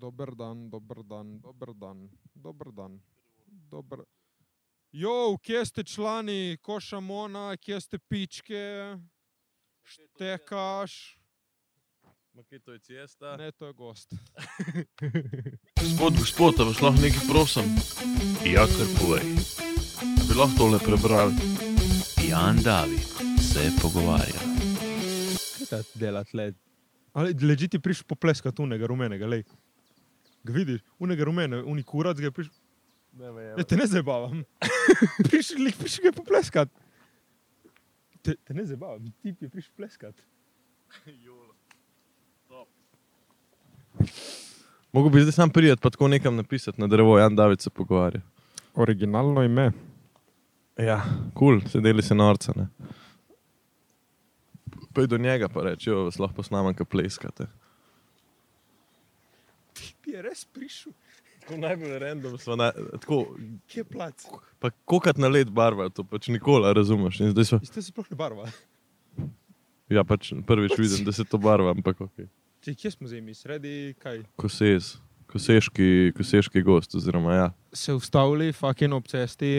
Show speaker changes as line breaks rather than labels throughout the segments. Dober dan, dober dan, dober dan, dober dan. Dober... Jo, kje ste člani Košamona, kje ste pičke, štekaš?
Makitovec jesta.
Ne, to je gost.
Gospod, gospod, a vas lahko nekaj prosim?
Ja, kar povej.
A Bi lahko tole prebrali?
Jan David se pogovarja.
Kaj ta dela tle?
Ali leži ti priš popleskati unega rumenega, lej. Ga vidiš, unega rumene, unikurac ga priš.
Ne
Ne,
vem.
te ne zabavam. priš, lik priš ga popleskati. Te, te ne zabavam, ti je priš pleskati.
Mogoče bi zdaj sam prijet, pa tako nekam napisati na drevo, Jan David se pogovarja.
Originalno ime.
Ja, kul, cool, sedeli se norca. Ne? Pej do njega pa reči, jo vas lahko posnamem, kaj pleskate.
Ti je res prišel,
Tako najbolj random smo, na, tako,
kje je plac?
pa kokat na let barva, to pač nikoli, a razumeš. In zdaj so,
Isto se sploh ne barva.
ja, pač prvič vidim, da se to barva, ampak ok.
Če kje smo zdaj, mi sredi kaj?
Kosez, koseški, koseški gost, oziroma ja.
Se ustavili, fucking ob cesti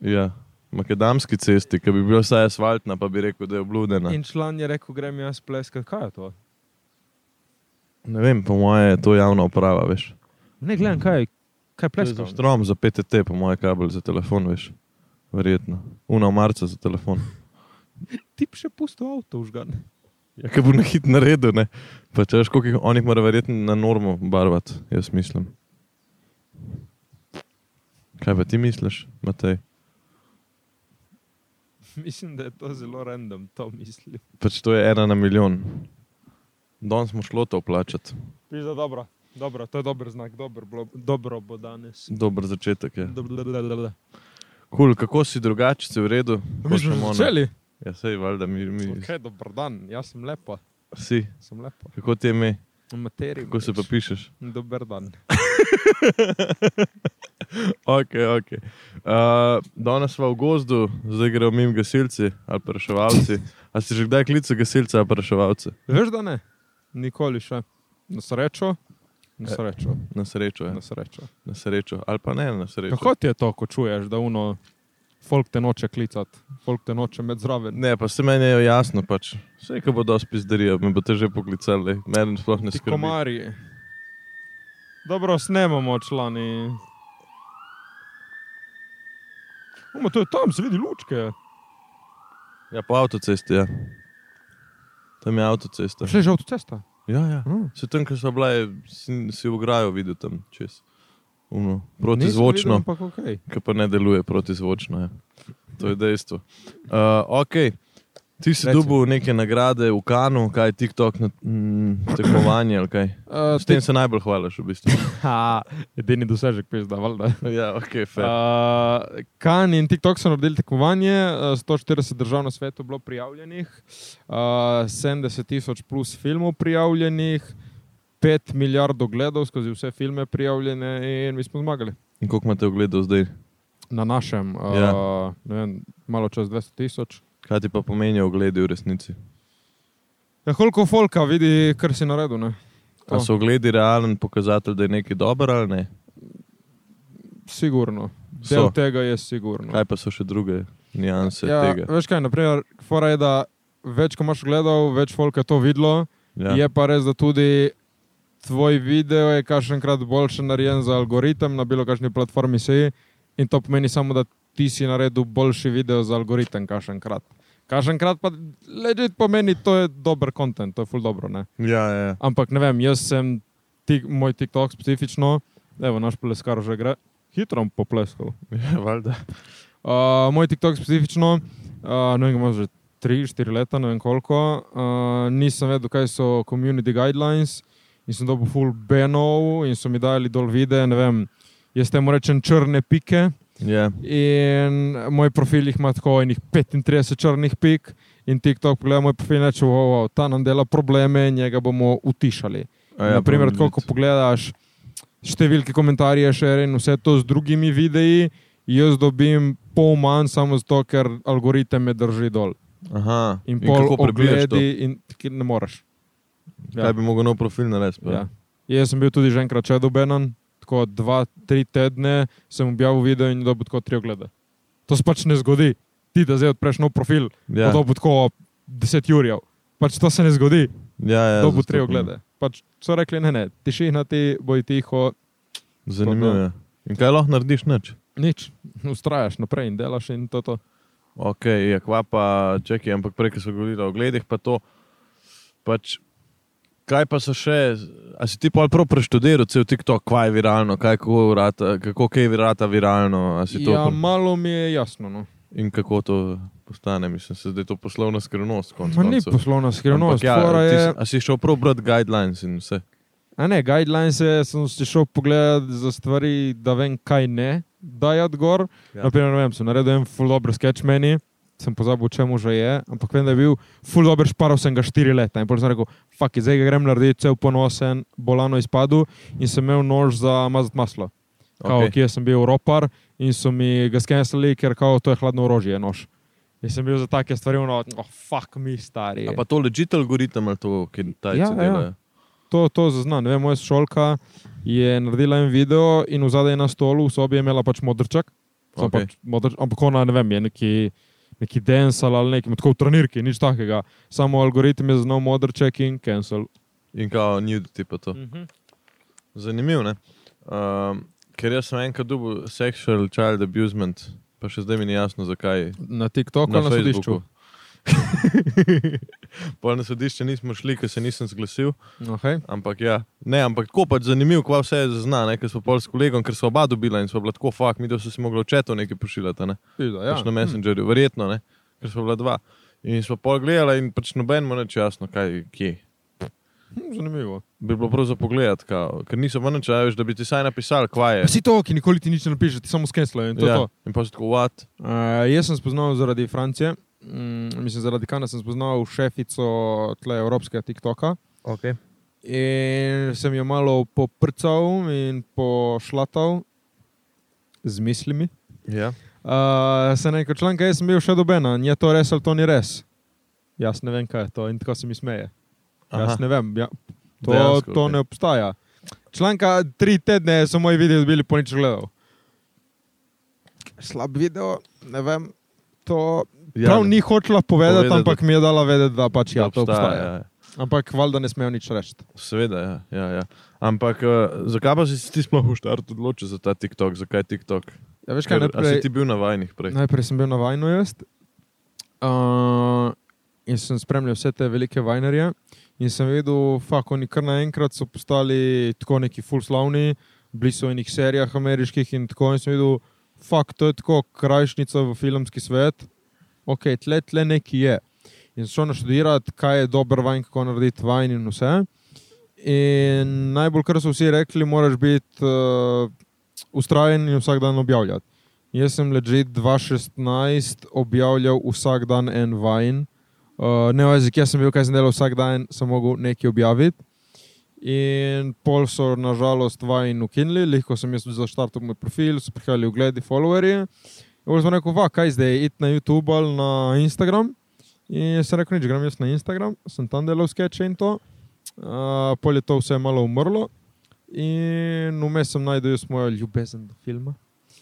Ja, makedamski cesti, ki bi bila vsaj asfaltna, pa bi rekel, da je obludena.
in član je rekel, grem jaz pleskat, kaj je to?
Ne vem, po moje je to javna uprava, veš.
Ne gledam, kaj, kaj
To je Za
pleskam.
štrom, za PTT, po moje kabel za telefon, veš. Verjetno. Una marca za telefon.
Tip še pusto avto užgan.
Ja, kaj bo na hit naredil, ne. Pa če veš, koliko jih onih mora verjetno na normo barvati, jaz mislim. Kaj pa ti misliš, Matej?
Mislim, da je to zelo random, to mislim.
Pač to je ena na milijon. Danes smo šlo to plačati.
Pizda, dobro, dobro, to je dober znak, dobro, bilo, dobro bo danes.
Dober začetek je.
Blablabla.
Kul, cool, kako si drugače, si v redu?
Mi smo že
Pošljemo na-
začeli.
Ja, sej, valjda, mi, mi
Ok, dober dan, jaz sem lepa,
si.
sem lepa.
Kako ti je ime?
Materi.
Kako se pa pišeš?
Dober dan.
Ok, ok. Uh, danes smo v gozdu, zdaj gremo mi gasilci ali pa reševalci. A si že kdaj klical gasilce ali pa reševalce?
Veš, da ne? Nikoli še. Na srečo, na
E. E,
srečo,
Na srečo, ja.
na srečo.
na srečo. Ali pa ne, na srečo.
Kako ti je to, ko čuješ, da uno, folk te noče klicati, folk te noče med zraven?
Ne, pa se meni je jasno, pač. vse, ko bo dosti pizderija, me boste že poklicali, meni sploh ne
Ti
skrbi.
komarji. Dobro, snemamo člani. Umo, to je tam, se vidi lučke.
Ja, po avtocesti, ja. Tam je avtocesta.
Šli že avtocesta.
Ja, ja.
Mm.
Se tam, ko so bile, si, si v graju videl tam čez.
Nisem
Uno,
videl,
protizvočno.
Ampak ok.
ki pa ne deluje protizvočno. Je. To je dejstvo. Uh, ok, ti si
Reci.
dobil neke nagrade v Kanu, kaj je TikTok na, mm, tekmovanje ali kaj.
Uh,
S tem se najbolj hvališ, v bistvu.
ha, edini dosežek, pizda, valjda.
ja, ok, fair.
Uh, kan in TikTok so naredili tekmovanje, uh, 140 držav na svetu je bilo prijavljenih, uh, 70 tisoč plus filmov prijavljenih, 5 milijard ogledov skozi vse filme prijavljene in mi smo zmagali.
In koliko imate ogledov zdaj?
Na našem, uh,
Ja.
ja. vem, malo čez 200 tisoč.
Kaj ti pa pomenijo ogledi v resnici?
Ja, koliko folka vidi, kar si naredil? Ne?
A so ogledi realen pokazatelj, da je nekaj dobro ali ne?
Sigurno.
So.
Del so. tega je sigurno.
Kaj pa so še druge nijanse
ja,
tega?
veš kaj, naprimer, fora je, da več, ko imaš ogledov, več folka je to videlo. Ja. Je pa res, da tudi tvoj video je kaženkrat boljše narejen za algoritem na bilo kakšni platformi seji in to pomeni samo, da ti si naredil boljši video za algoritem kaženkrat. Kaženkrat pa ležite pomeni, to je dober kontent, to je ful dobro. Ne?
ja, ja. ja.
Ampak ne vem, jaz sem tik, moj TikTok specifično, evo naš pleskar že gre, hitro bom popleskal.
ja valjda.
Uh, moj TikTok specifično, uh, ne vem, ima že 3-4 leta, ne vem koliko, uh, nisem vedel, kaj so community guidelines in sem dobil full benov in so mi dali dol vide, ne vem, jaz temu rečem črne pike
Ja.
in moj profil jih ima tako enih 35 črnih pik in TikTok pogleda moj profil in reče, wow, wow, ta nam dela probleme, njega bomo utišali.
A Ja,
Ja, Naprimer,
pa
tako, ko pogledaš številke komentarjev, še en, vse to z drugimi videi, jaz dobim pol manj, samo zato, ker algoritem me drži dol.
Aha.
In, in
kako
pol
prebiješ to?
ogledi, in ki ne moreš.
Kaj bi mogel nov profil narediti? pa?
Ja. Jaz sem bil tudi že enkrat še dobenan, tako dva, tri tedne sem objavil video in dobil tako tri oglede. To se pač ne zgodi. Ti, da zdaj odpreš nov profil, ja.
Ja,
dobil tako 10 jurjev. Pač to se ne zgodi,
ja, ja,
ja, dobil tri
zastopam.
oglede. Pač so rekli, ne, ne, tišina ti, boj tiho,
Zanimivo
Tako.
je. In kaj lahko narediš, nič?
nič, ustrajaš naprej in delaš in to. to.
Ok, je kva pa, čekaj, ampak prej, ki so govorili o gledih, pa to. Pač, kaj pa so še, a si ti pa prav preštudiral cel TikTok, kaj je viralno, kaj kako, vrata, kako kaj virata viralno, a si to
Ja,
pr-
malo mi je jasno. No.
in kako to postane, mislim, se zdaj je to poslovna skrivnost. Konc,
Ma Ni poslovna skrivnost, ja,
ti,
je,
si- a si šel prav brati guidelines in vse.
A ne, guidelines je, sem si šel pogledat za stvari, da vem, kaj ne dajati gor.
Ja.
Ja. Naprimer, ne vem, sem naredil en full dobro sketch meni, sem pozabil, čemu že je, ampak vem, da je bil full dobro, šparal sem ga štiri leta in potem sem rekel, fuck, it, zdaj ga grem narediti, cel ponosen, bolano izpadu in sem imel nož za mazati maslo. Kao,
Okej.
okay. Kje sem bil ropar in so mi ga skenirali, ker kao, to je hladno orožje, nož. In sem bil za take stvari, no, oh, fuck mi stari.
A pa to legit algoritem ali to, ki ta
Ja, ja.
ja, dela.
to, to zaznam. Ne Vem, moja šolka je naredila en video in v zadaj na stolu v sobi je imela pač modrček. Okay.
Okej.
Pač modr, ampak ona ne vem, je neki, neki densal ali neki, tako v trenirki, nič takega. Samo algoritem je znal modrček in cancel.
In kao nuditi pa to.
Mhm.
Zanimivo, ne? Um, ker jaz sem enkrat dobil sexual child abusement, pa še zdaj mi ni jasno, zakaj.
Na TikToku ali na sodišču.
Pol na sodišče nismo šli, ker se nisem zglasil,
Okay.
ampak ja. Ne, ampak tako pač zanimivo, kva vse zazna, ne, ker smo pol s kolegom, ker so oba dobila in smo bila tako fakt, mi da so si mogli očetov nekaj pošiljati, a ne.
Ja.
ja. pač na Messengerju, verjetno, ne? ker smo bila dva. In smo pogledali, in pač noben mu neče jasno, kaj je.
Hm, zanimivo.
Bi bilo prav za pogled, kao, ker niso manj čaješ, da bi ti saj napisali, kva je.
Vsi to, ki nikoli ti nič ne napiše, ti samo skenslajo in to je to.
in pa si tako, what?
Uh, jaz sem spoznal zaradi Francije, mm, mislim, zaradi Kana sem spoznal šefico tle evropskega TikToka.
Okay.
In sem jo malo poprcal in pošlatal z mislimi.
Ja.
Uh, se nekaj članka, jaz sem bil še dobena, je to res ali to ni res. Jaz ne vem, kaj je to in tako se mi smeje. Aha. Jaz ne vem, ja, to,
Dejansko,
Dejansko, to
okej.
ne obstaja. Članka tri tedne so moji videi bili po nič gledal. Slab video, ne vem. To ja, prav ni hočela povedati, povedati,
Povedati,
ampak mi je dala vedeti, da pač ja, to obstaja. obstaja.
Ja.
Ampak valjda ne smejo nič reči.
Seveda, ja, ja, ja. Ampak uh, zakaj pa si se ti sploh v štartu odločil za ta TikTok? Zakaj TikTok?
Ja, veš, kaj,
Ker- a
najprej,
si ti bil na vajnih prej?
Najprej sem bil na vajnu jaz uh, in sem spremljal vse te velike vajnerje in sem videl, kako oni kar naenkrat so postali tako neki full slavni, bili so v enih serijah ameriških in tako in sem videl, fakt to je tako krajšnica v filmski svet, ok, tle, tle neki je. In sem šel naštudirati, kaj je dober vajn, kako narediti vajn in vse. In najbolj, kar so vsi rekli, moraš biti uh, ustrajen in vsak dan objavljati. Jaz sem ležal 2016, objavljal vsak dan en vajen. Uh, ne o jezik, jaz sem bil, kaj sem delal vsak dan, sem mogel nekaj objaviti. In pol so nažalost vajen ukinili, lahko sem jaz zaštartil moj profil, so prihajali ogledi, followerji. Jaz sem rekel, va, kaj zdaj, id na YouTube ali na Instagram. In jaz sem rekel, nič, grem jaz na Instagram, sem tam delal sketche in to. Uh, pol je to vse malo umrlo. In vmes sem najdel jaz mojo ljubezen do filma.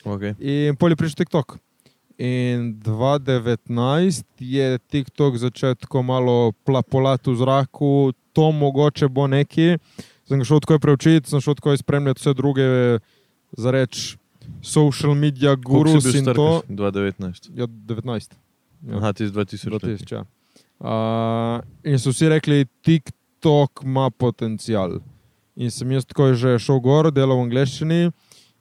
Okay.
In pol je prišel TikTok. In 2019 je TikTok začel tako malo plapolati v zraku, to mogoče bo neki. Sem ga šel tako preučiti, sem šel tako spremljati vse druge, za reč, social media
Koliko
gurus
si
in
bil star,
to.
ko si- 2019.
Ja, 19. Ja.
Aha, ti si 2000.
Bilo tisoč, ja. Uh, in so vsi rekli, TikTok ima potencial. In sem jaz tako že šel gor, delal v angleščini.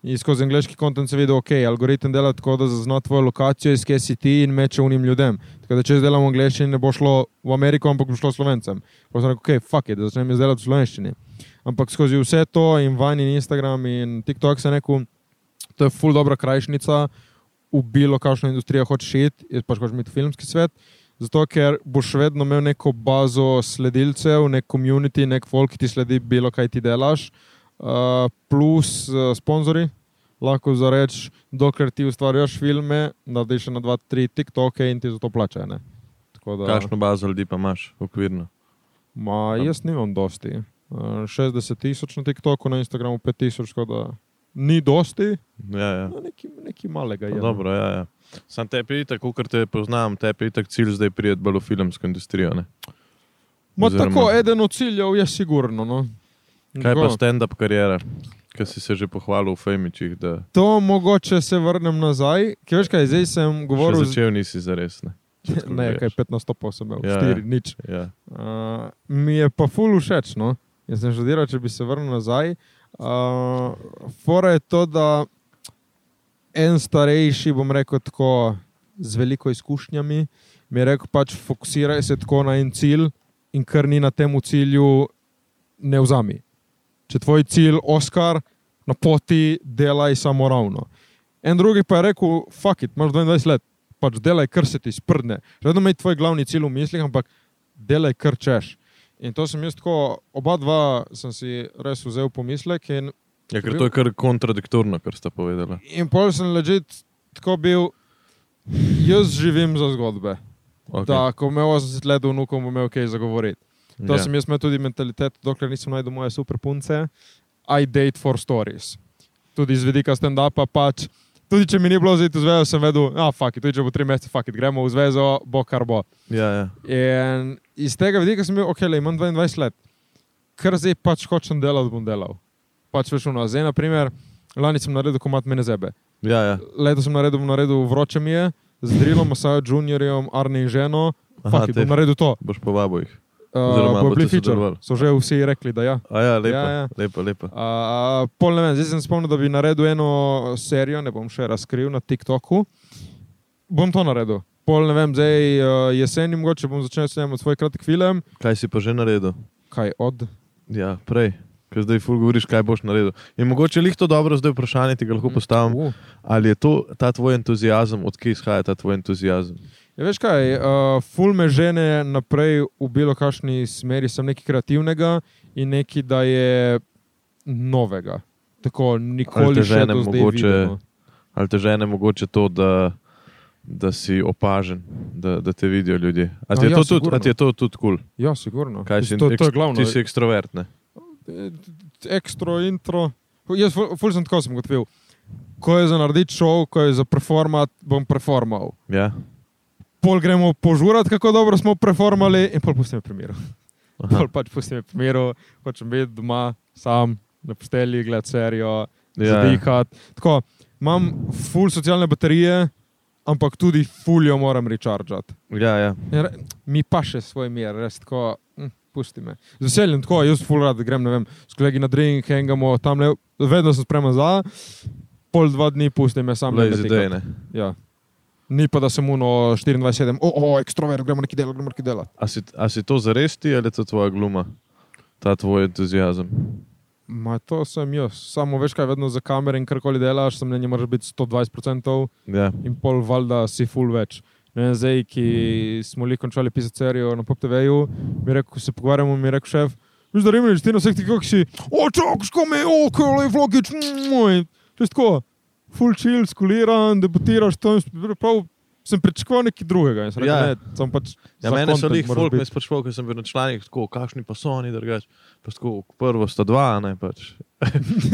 In skozi angliški kontent sem videl, ok, algoritem dela tako, da zazna tvojo lokacijo, iz kje si ti in meče unim ljudem. Tako da če jaz delam v angleščini, ne bo šlo v Ameriko, ampak bo šlo slovencem. Potem sem rekel, ok, fuck it, da začnem jaz delati v slovenščini. Ampak skozi vse to in van in Instagram in TikTok sem rekel, to je full dobra krajšnica, v bilo kakšno industrijo hočeš iti, jaz pač hočeš imeti filmski svet, zato ker boš vedno imel neko bazo sledilcev, nek komunity, nek folk, ki ti sledi bilo kaj ti delaš, uh, plus uh, sponzori. Lahko za reč, dokler ti ustvarjaš filme, narediš še na 2-3 TikToke in ti za to plačajo. ne. Tako da-
Kakšno bazo ljudi pa imaš, okvirno?
Ma, jaz nimam dosti. eh, 60 tisoč na TikToku, na Instagramu 5000, tako da ni dosti,
Ja, ja.
no, nekaj, nekaj malega je.
Pa
no.
Dobro, ja, ja. Sam tebi, tako kot te poznam, tebi je tako cilj zdaj prijeti bolj v filmsko industrijo. Ne?
Ma
Oziroma-
tako, eden od ciljev je sigurno. No.
Kaj
Tako.
pa stand-up karijera, ki si se že pohvalil v Femičih, da
To mogoče se vrnem nazaj. Kaj veš kaj, zdaj sem govoril
Govoril...
z...
začel nisi zares. Ne, Če tako
Ne, kaj
gledaš.
15 stopov sem imel,
Ja, ja.
4, nič.
Ja.
Uh, mi je pa ful všeč. No? Jaz sem študiral, če bi se vrnil nazaj. Uh, Fora je to, da en starejši, bom rekel tako, z veliko izkušnjami, mi je rekel, pač fokusiraj se tako na en cilj in kar ni na tem cilju, ne vzami. Če tvoj cilj je Oscar, na poti delaj samo ravno. En drugi pa je rekel, fuck it, imaš 22 let, pač delaj, kar se ti sprdne. Še vedno imaš tvoj glavni cilj v mislih, ampak delaj, kar češ. In to sem jaz tako, oba dva sem si res vzel pomislek in,
ja, ker to je kar kontradiktorno, kar sta povedala.
in pol sem ležit tako bil, jaz živim za zgodbe. Okay.
Okay.
Da, ko bom imel 80 let, vnukom bom imel kaj zagovoriti. To
Ja.
yeah. sem jaz imel tudi mentaliteto, dokler nisem najdel moje super punce. I date for stories. Tudi iz vidika stand-upa pač. Tudi če mi ni bilo zdaj v zvezo, sem vedel, da ah, je, tudi če bo tri mesece, fuck it, gremo v zvezo, bo kar bo.
Ja, ja.
In iz tega vidika sem bil, ok, le, imam 22 let, ker zdaj pač hočem delati, bom delal. Pač veš, no, zdaj, na primer, lani sem naredil komat mene zebe,
ja, ja.
leto sem naredil, bom naredil vroče mi je, z Drilom, Osajo Juniorjem, Arne in ženo,
Aha,
fuck it,
te
bom naredil to.
boš povabil jih. Oziroma
Uh, bo
boste
bili feature,
sodelovali.
so že vsi rekli, da ja.
A ja, lepa,
Ja,
ja,
ja.
ja. lepa, lepa.
Uh, pol ne vem, zdaj sem spomnil, da bi naredil eno serijo, ne bom še razkril na TikToku. Bom to naredil. Pol ne vem, zdaj uh, jesen, mogoče bom začel snemati svoj kratek film.
Kaj si pa že naredil?
Kaj od?
Ja, prej. Ker zdaj ful govoriš, kaj boš naredil. In mogoče je to dobro, zdaj vprašanje ti ga lahko postavim.
Uh.
Ali je to ta tvoj entuzijazem, odkje izhaja ta tvoj entuzijazem?
Ja, veš kaj, uh, ful me žene naprej v bilo kakšni smeri, sem nekaj kreativnega in nekaj, da je novega. Tako nikoli
te
še
žene
ne zdaj
mogoče-
videno.
Ali te žene mogoče to, da, da si opažen, da, da te vidijo ljudje? A
Ja,
ti je,
ja,
to tudi-
sigurno.
a ti je to tudi kul? Cool?
Ja, sigurno.
Kaj si-
Mislim, to, to je
ekst-
glavno. Eh,
Ti si ekstrovert. Ne?
ekstro, intro. Jaz ful, ful sem tako sem kot bil. Ko je za narediti šov, ko je za performat, bom performal.
Ja.
Pol gremo požurati, kako dobro smo performali, in pol pustimo pri miru.
Aha.
Pol pač pustimo pri miru, hočem biti doma, sam, na posteli, gledati serijo,
Ja,
ja. dihati. Tako, imam ful socialne baterije, ampak tudi fuljo moram rechargeati.
ja, ja.
In re- Mi pa še svoj mir, res tako, hm, pusti me. Z veseljem tako, jaz ful rad grem, ne vem, s kolegi na drink, hengamo tam le, vedno sem spremljen za, pol dva dni pusti me sam.
Blaze
ne.
idej. Ne.
tekat. Ja. Ni pa, da sem uno 24-7, o, o, ekstrovert, gremo neki delati, gremo neki delati.
A, si, a si to zares ti ali je to tvoja gluma, ta tvoj entuzijazem?
Ma to sem jaz, samo veš kaj, vedno za kamere in karkoli delaš, sem ne moraš biti 120%.
Ja.
in pol valjda si full več. Ne, vem, zdaj, ki smo li končali pisati serijo na PopTV-ju, mi je rekel, ko se pogovarjamo, mi je rekel šef, veš, da rimljiš ti na vseh tikok si, o, čak, škome, o, kolej, vlogič, moj, čez tako, full chill, skuliran, debutiraš, to in sp- prav, sem pričakoval nekaj drugega. in Sem rekel,
Ja.
ja. ne, sem pač za
Ja, mene so
content
jih
moraš
folk me
biti."
sprašvali, ker sem bil na članek, tako, kakšni pa so oni drugače. Pa tako, prvo sta dva, a ne pač.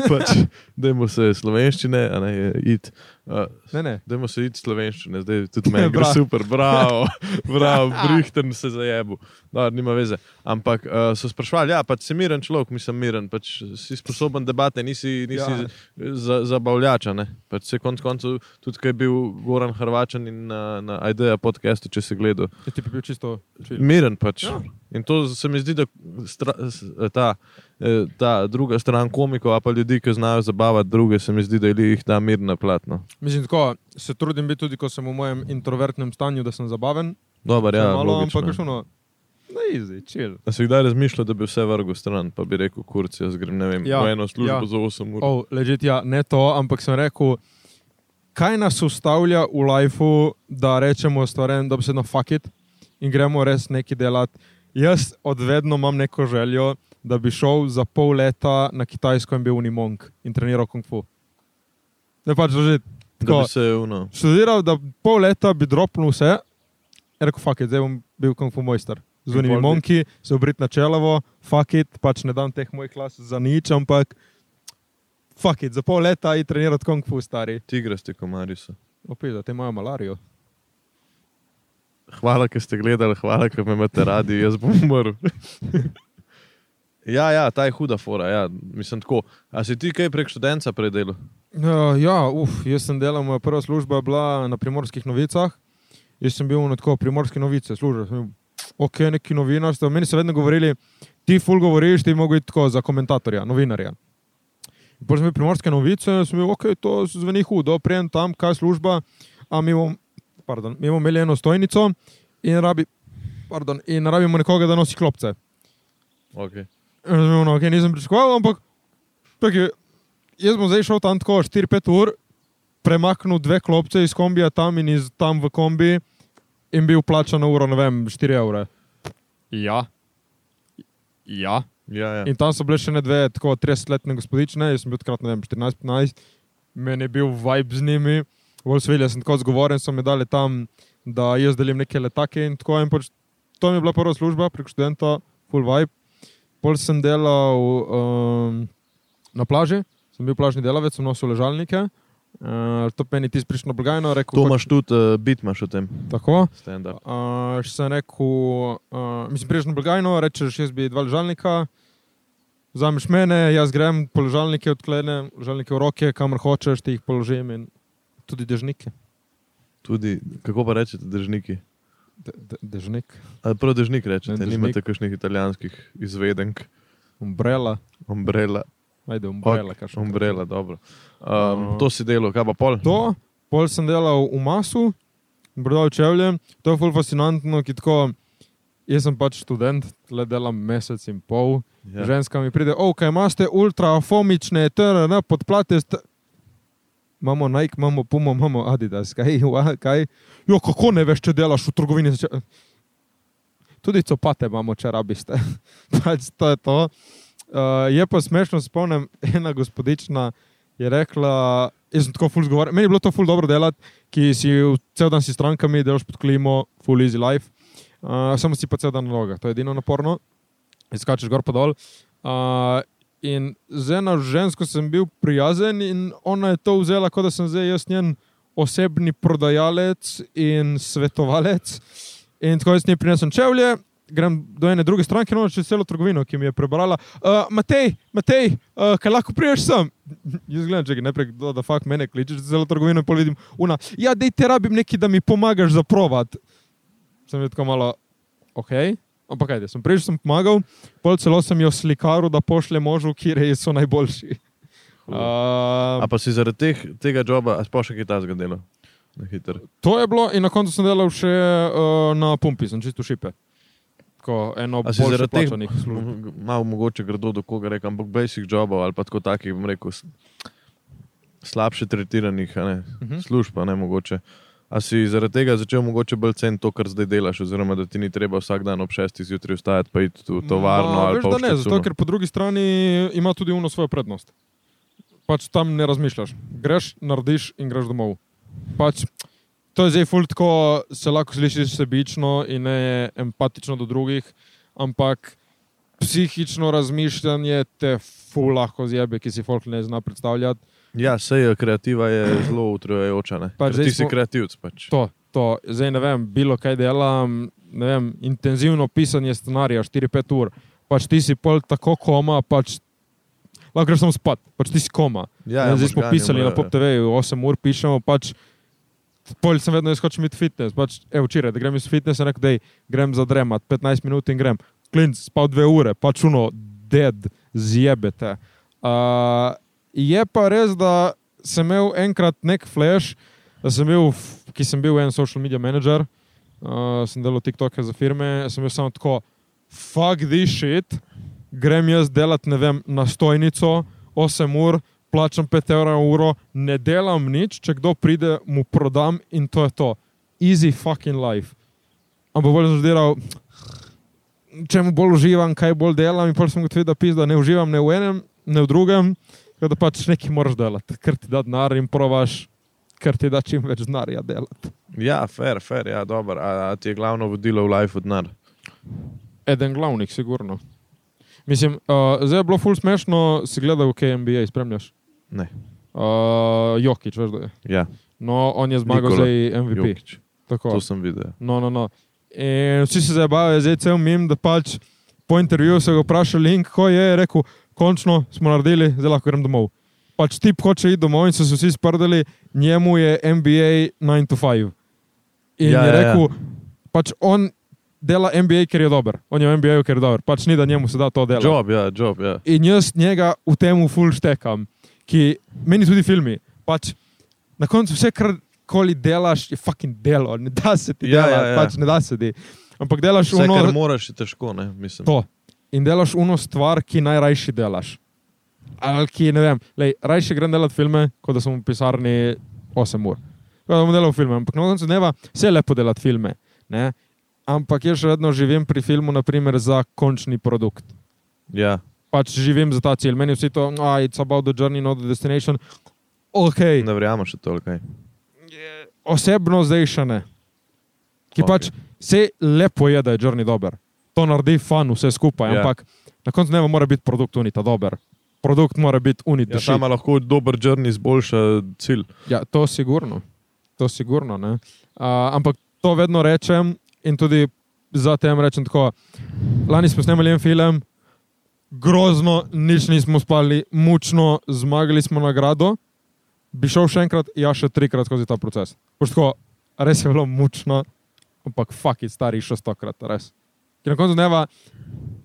pač Dajmo se slovenščine, a ne je it. Uh,
Ne, ne.
Dajmo se iti slovenščine, zdaj tudi meni gre
Bra-
super, bravo, bravo, brihten se zajebu. No, nima veze. Ampak uh, so sprašvali, ja, pač si miren človek, nisem miren, pač si sposoben debate, nisi, nisi
Ja.
ja. za, zabavljača. ne. Pač se konc koncev, tudi kaj je bil Goran Hrvačan in na, na IDEA podcastu, če si gledal,
Ja, ti bi bil čisto chill.
miren pač.
Ja.
Ja. In to se mi zdi, da stra, s- ta, eh, ta druga stran komikov, a pa ljudi, ki znajo zabavati druge, se mi zdi, da jih da mirna no. platno.
Mislim, tako, se trudim biti tudi, ko sem v mojem introvertnem stanju, da sem zabaven,
Dobar, ja,
malo,
logično.
ampak šuno, ne, izdi, chill.
A si kdaj razmišljal, da bi vse vrgel stran, pa bi rekel, kurc, jaz grem ne vem,
Ja,
ja, v eno službo
ja.
ja. za 8 ur.
Oh, ležit, ja, ne to, ampak sem rekel, kaj nas ustavlja v lifeu, da rečemo stvarem, da bi se na fakit in gremo res neki delati. Jaz odvedno imam neko željo, da bi šel za pol leta na Kitajsko in bil unimong in treniral kung fu. Ne pač ležit.
da
tako.
bi se no, uno.
Študiral, da pol leta bi dropnil vse, in rekel, fakit, zdaj bom bil kung fu mojster. z unimi
pol bi-
monki, se obrit na čelavo, fuck it, pač ne dam teh mojih klas za nič, ampak fuck it, za pol leta in trenirati kung fu stari.
Tigrasti komarji so.
Opet, te imajo malarijo.
Hvala, ker ste gledali, hvala, ker me imate radi, jaz bom umrl. ja, ja, ta je huda fora. Ja. Mislim tako. A si ti kaj prek študenta predelal?
Uh, ja, uf, jaz sem delal, moja prva služba je bila na primorskih novicah. Jaz sem bil na tako primorske novice, služil sem. Ok, neki novinarstvo. Meni so vedno govorili, ti ful govoriš, ti mogo iti tako za komentatorja, novinarja. In Potem sem bil primorske novice, sem bil, ok, to zveni hudo, prijem tam, kaj je služba, a mi bomo, pardon, mi bomo imeli eno stojnico in, rabi, pardon, in rabimo nekoga, da nosi klopce.
Okay.
Razumem, ok, nisem pričakoval, ampak taki, jaz bom zdaj šel tam tako 4-5 ur, premaknil dve klopce iz kombija tam in iz tam v kombi in bil plačan na uro, ne vem, 4 evre. Ja. Ja.
Ja, ja.
In tam so bile še ne dve, tako 30-letne gospodične, jaz sem bil takrat, ne vem, 14-15, meni je bil vibe z njimi, bolj svilja sem tako zgovoren, so mi dali tam, da jaz delim neke letake in tako. In pač, to mi je bila prva služba prek študenta, full vibe. Pol sem delal um, na plaži, sem bil plažni delavec, sem nosil ležalnike. Uh, to meni ti sprišno blagajno, rekel
To
"Hoč-
imaš tudi, uh, bit imaš v tem.
Tako.
Stand up.
Uh, sem rekel, uh, mislim, priješ na blagajno, rečeš, jaz bi dva ležalnika, vzameš mene, jaz grem, položalnike odklenem, ležalnike v roke, kamor hočeš, ti jih položim in tudi dežnike.
Tudi, kako pa rečete, držniki?
De, de, dežnik,
Ali prav držnik rečete,
Ne,
ne,
dežnik.
nimate kakšnih italijanskih izvedenk,
umbrela,
umbrela,
ajde, umbrela, okay. kaj še.
umbrela, dobro.
Ja.
Um, to si delal, kaj pa pol?
To, pol sem delal v masu, brodal čevlje, to je ful fascinantno, ki tako. Jaz sem pač študent, le delam mesec in pol, ja.
Ja.
ženska mi pride, oh, kaj imaš, ultrafomične, TRN, podplate. st-" Imamo Nike, imamo Pumo, imamo Adidas, kaj, ua, kaj. Jo, kako ne veš, če delaš v trgovini? Če... Tudi copate imamo, če rabiš. pač to je to. Uh, je pa smešno, se spomnim, ena gospodična je rekla, jaz sem tako ful zgovarjal, meni je bilo to ful dobro delati, ki si v- cel dan si s strankami, delaš pod klimo, full easy life, uh, samo si pa cel dan na nogah, to je edino naporno, izkačeš gor pa dol. Uh, in z eno žensko sem bil prijazen in ona je to vzela, kot da sem zdaj jaz njen osebni prodajalec in svetovalec. In tako jaz nje prinesem čevlje, grem do ene druge stranke, no čez celo trgovino, ki mi je prebrala. Uh, Matej, Matej, uh, kaj lahko priješ sem? Jaz gledam, če ga najprej, da, da fakt mene kličeš za celo trgovino in povidim, una, ja, dej te rabim neki, da mi pomagaš zaprovat. Sem bil tako malo, ok, ampak ajde, sem prišel, sem pomagal, pol celo sem jo slikaru, da pošle možu, kje so najboljši. Uh,
A pa si zaradi teh, tega joba, a si pa še kaj tazga delal? Na hitro.
to je bilo in na koncu sem delal še uh, na pumpi, sem čisto šipe. Tako eno
A si
bolj
zaradi teh-
plačanih služb.
Malo mogoče grdo do koga rekel, ampak basic jobov ali pa tako takih, bom rekel, s- slabše tretiranih a ne, uh
Mhm.
-huh. služb, a ne mogoče. A si zaradi tega začel mogoče bolj ceniti to, kar zdaj delaš, oziroma da ti ni treba vsak dan ob šestih zjutraj vstajati pa iti v tovarno
Ma,
ali
No, veš,
pa
da
v
ne, zato
štacuno?
ker po drugi strani ima tudi uno svojo prednost. Pač tam ne razmišljaš. Greš, narediš in greš domov. Pač, to je zdaj ful tako, se lahko slišiš sebično in ne empatično do drugih, ampak psihično razmišljanje te ful lahko zjebe, ki si folk ne zna predstavljati.
Ja, sej kreativa je zelo utrujajoča. ne.
Pa
Ker
zdaj
Ti si
smo-
kreativc pač.
To, to, zdaj ne vem, bilo kaj delam, ne vem, intenzivno pisanje scenarija 4-5 ur, pač ti si pol tako koma, pač lahko greš samo spat, pač ti si koma.
Ja,
Ja,
ja,
ja, zdaj smo
možgani
pisali na
umrejo,
Pop TV-ju, 8 ur pišemo, pač pol sem vedno jaz hočem biti fitness, pač e, včeraj, da grem iz fitnessa, sem rekel, da grem za dremat, 15 minut in grem. Klinc, spal dve ure, pač uno, dead, zjebete. Uh, je pa res, da sem imel enkrat nek flash, da sem bil, f- ki sem bil en social media manager, uh, sem delal TikToke za firme, sem bil samo tako, fuck this shit, grem jaz delat, ne vem, na stojnico, 8 ur, plačam 5 evrov na uro, ne delam nič, če kdo pride, mu prodam in to je to. Easy fucking life. Ampak bolj sem zdiral, čemu bolj uživam, kaj bolj delam in bolj sem gotovil, da pizda ne uživam ne v enem, ne v drugem, tako da pač nekaj moraš delati, ker ti da denar in provaš, ker ti da čim več denarja delati.
Ja, fair, fair, ja, dobro. A, a ti je glavno vodilo v life od nar?
Eden glavnih, sigurno. Mislim, uh, zdaj je bilo ful smešno, si gledal, kaj NBA spremljaš.
Ne.
Uh, Jokič, veš, da je.
Ja,
No, on je zmagal
Nikola
zdaj MVP.
Jokić.
Tako.
to sem videl. ja.
No, no, no. In vsi se zabavajo, zdaj cel mim, da pač po intervjuju so ga vprašali, in ko je rekel, končno smo naredili, zdaj lahko grem domov. Pač tip hoče iti domov in so se vsi sprdali, njemu je NBA 9 to 5. In ja,
Ja,
je
ja, ja.
rekel, ja. pač on dela NBA, ker je dober. On je v NBA, ker je dober. Pač ni, da njemu se da to delo.
Job, ja, job, ja.
In jaz njega v tem full štekam, ki meni tudi filmi. Pač, na koncu vse, kar koli delaš, je fucking delo, ne da se ti
Ja,
dela,
ja, ja.
pač ne da se ti. Ampak delaš
Vse, kar
uno,
moraš, je težko, ne, mislim.
To. in delaš uno stvar, ki najrajši delaš. Ali ki ne vem, lej, rajši grem delati filme, kot da sem v pisarni 8 ur. Kot da bom delal filme, ampak na koncu dneva vse je lepo delati filme. Ne? Ampak jaz še vedno živim pri filmu, naprimer, za končni produkt
Ja,
pač živim za ta cilj. Meni vsi to, ah, it's about the journey, not the destination. Ok,
ne verjamem še toliko.
osebno zdaj še ne. Ki okay.
Okej.
pač vse lepo je, da je journey dober. To naredi fan vse skupaj,
Ja.
yeah. ampak na koncu ne mora biti produkt unita dober. Produkt mora biti unita.
Ja,
Ja,
sama lahko dober črn izboljša cilj.
ja, to sigurno. To sigurno uh, ampak to vedno rečem in tudi za tem rečem tako. Lani smo snemali en film, grozno, nič nismo spali, mučno, zmagali smo nagrado. Bi šel še enkrat, ja, še trikrat skozi ta proces. Boš Tako, res je bilo mučno, ampak faki stari še stokrat, res. Ker na koncu dneva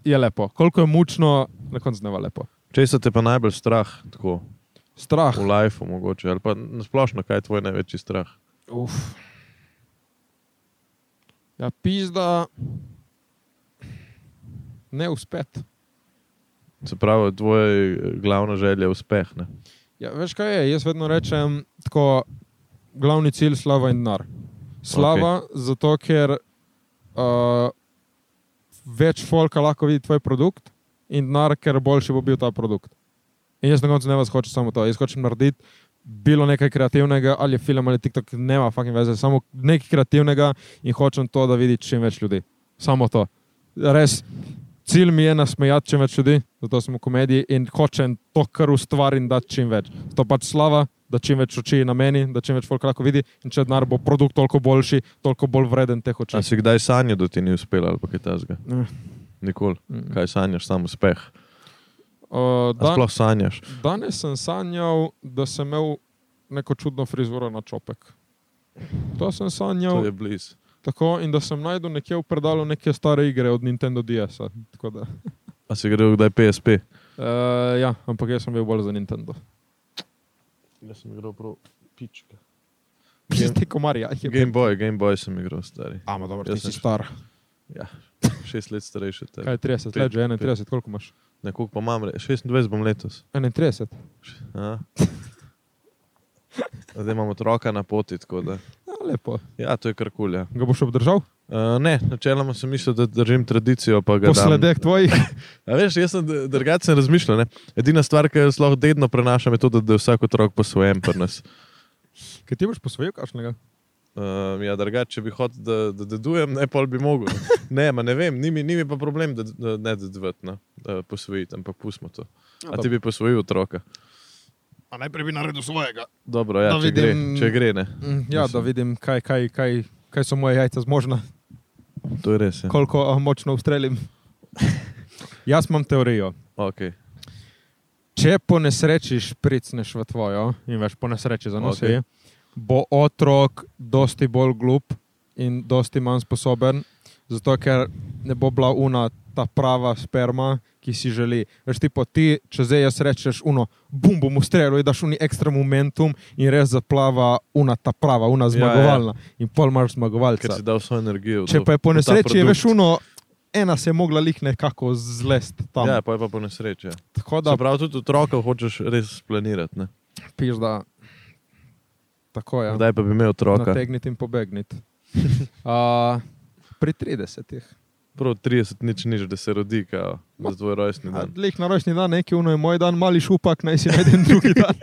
je lepo. Koliko je mučno, na koncu dneva lepo.
Če se te pa najbolj strah, tako
Strah.
v lifeu mogoče, ali pa nasplošno, kaj je tvoj največji strah?
Uf. Ja, pizda. Ne uspeti.
Se pravi, tvoja eh, glavna želja je uspeh. Ne?
Ja, veš kaj je? Jaz vedno rečem, tako glavni cilj je slava in denar. Slava, okay. zato ker uh, več folka lahko vidi tvoj produkt in denar, ker boljši bo bil ta produkt. In jaz na koncu ne vas hočem samo to. Jaz hočem narediti bilo nekaj kreativnega, ali je film ali TikTok, nema fucking veze, samo nekaj kreativnega in hočem to, da vidi čim več ljudi. Samo to. Res, cilj mi je nasmejati čim več ljudi, zato sem v komediji in hočem to, kar ustvarim, da čim več. To pač slava, da čim več oči je na meni, da čim več folk lahko vidi in če denar bo produkt toliko boljši, toliko bolj vreden teh oči.
A si kdaj sanjal, da ti ni uspelo ali pa kaj tasga?
Ne.
Nikoli.
Mm.
Kaj sanjaš, sam uspeh.
Uh,
A
dan,
sploh sanjaš.
danes sem sanjal, da sem imel neko čudno frizuro na čopek. To sem sanjal.
To je blizu.
Tako, in da sem najdel nekje v predalu neke stare igre od Nintendo DS-a. Uh,
A si gre kdaj PSP?
ja, ampak jaz sem bil bolj za Nintendo.
Jaz sem igral prav pička. Game-
Ste komarja.
Game Boy, Game Boy sem igral stari.
Ama, dobro,
Jaz
ti si
sem-
star.
Ja, šest let starejši od tebe.
Kaj je 30,
Pet,
leže 31, koliko imaš?
Nekako pa imam, re- 26 bom letos.
31.
A? Zdaj imamo otroka na poti, tako da.
Ja, lepo.
Ja, to je kar kulja.
Ga boš obdržal?
Uh, ne, načeloma sem mislil, da držim tradicijo. pa ga dam-
Posledek tvojih.
A veš, jaz sem dr- drugače sem razmišljal. Ne? Edina stvar, ki jo lahko dedno prenašam, je to, da, da je vsak otrok posvojen pri nas.
Kaj ti boš posvojil kašnega?
Uh, ja, drugače, če bi hotel, da, da dedujem, ne, pol bi mogel. Ne, ma ne vem, ni mi, ni mi pa problem, da, da ne deduvati, no, da posvojiti, ampak pustimo to. A ti bi posvojil otroka?
A najprej bi naredil svojega.
Dobro, ja,
Da
če, gre,
vidim-
če gre, ne.
Ja,
Mislim.
da vidim, kaj, kaj, kaj, kaj so moje jajca zmožna,
To je res. Ja.
koliko a, močno ustrelim. Jaz imam teorijo.
Okay.
Če po nesreči špricneš v tvojo in veš po nesreči za nosi,
Okej.
okay. bo otrok dosti bolj glup in dosti manj sposoben, zato ker ne bo bila una ta prava sperma, ki si želi. Veš ti po ti, če zdaj jaz rečeš uno, bum bom ustrelil, in daš uni ekstra momentum in res zaplava una ta prava, una
Ja, ja.
zmagovalna in pol imaš
Ker
zmagovalca.
si dal vso energijo. v
Če
to-
pa je po
v ta
nesreči, je veš
produkt.
uno, ena se je mogla lih nekako zlest tam.
Ja, pa je pa po nesreči. Ja.
Tako da
Da, prav tudi otroka hočeš res planirati. Ne?
piš, da. Tako je.
Ja. Kdaj pa bi imel otroka?
Nategniti in pobegniti. uh, pri 30-ih.
Prav 30 nič nič, da se rodi, kao, za tvoj rojstni dan.
Lih na rojstni dan, neki uno je moj dan, mali šupak, naj si najdem drugi dan.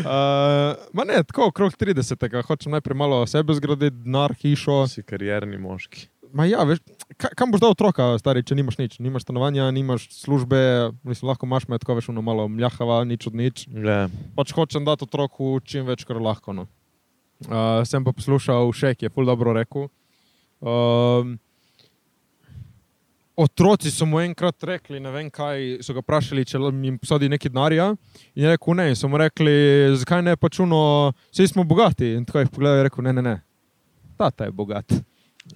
uh, ma ne, tako okrog 30-ega. Hočem najprej malo o sebi zgraditi, denar, hišo.
Si karjerni moški.
Ma ja, veš, ka- kam boš dal otroka, stari, če nimaš nič? Nimaš stanovanja, nimaš službe, mislim, lahko imaš me tako veš, ono malo mljahava, nič od nič.
Ja.
Pač hočem dati otroku čim več, kar lahko. No. Uh, sem pa poslušal še, ki je ful dobro rekel. Um, otroci so mu enkrat rekli, ne vem kaj, so ga vprašali, če lahko jim posadi nekaj denarja. In je rekel ne, in so mu rekli, zakaj ne pačuno, vsi smo bogati. In tako jih pogledal in je rekel, ne, ne, ne. Tata je bogat,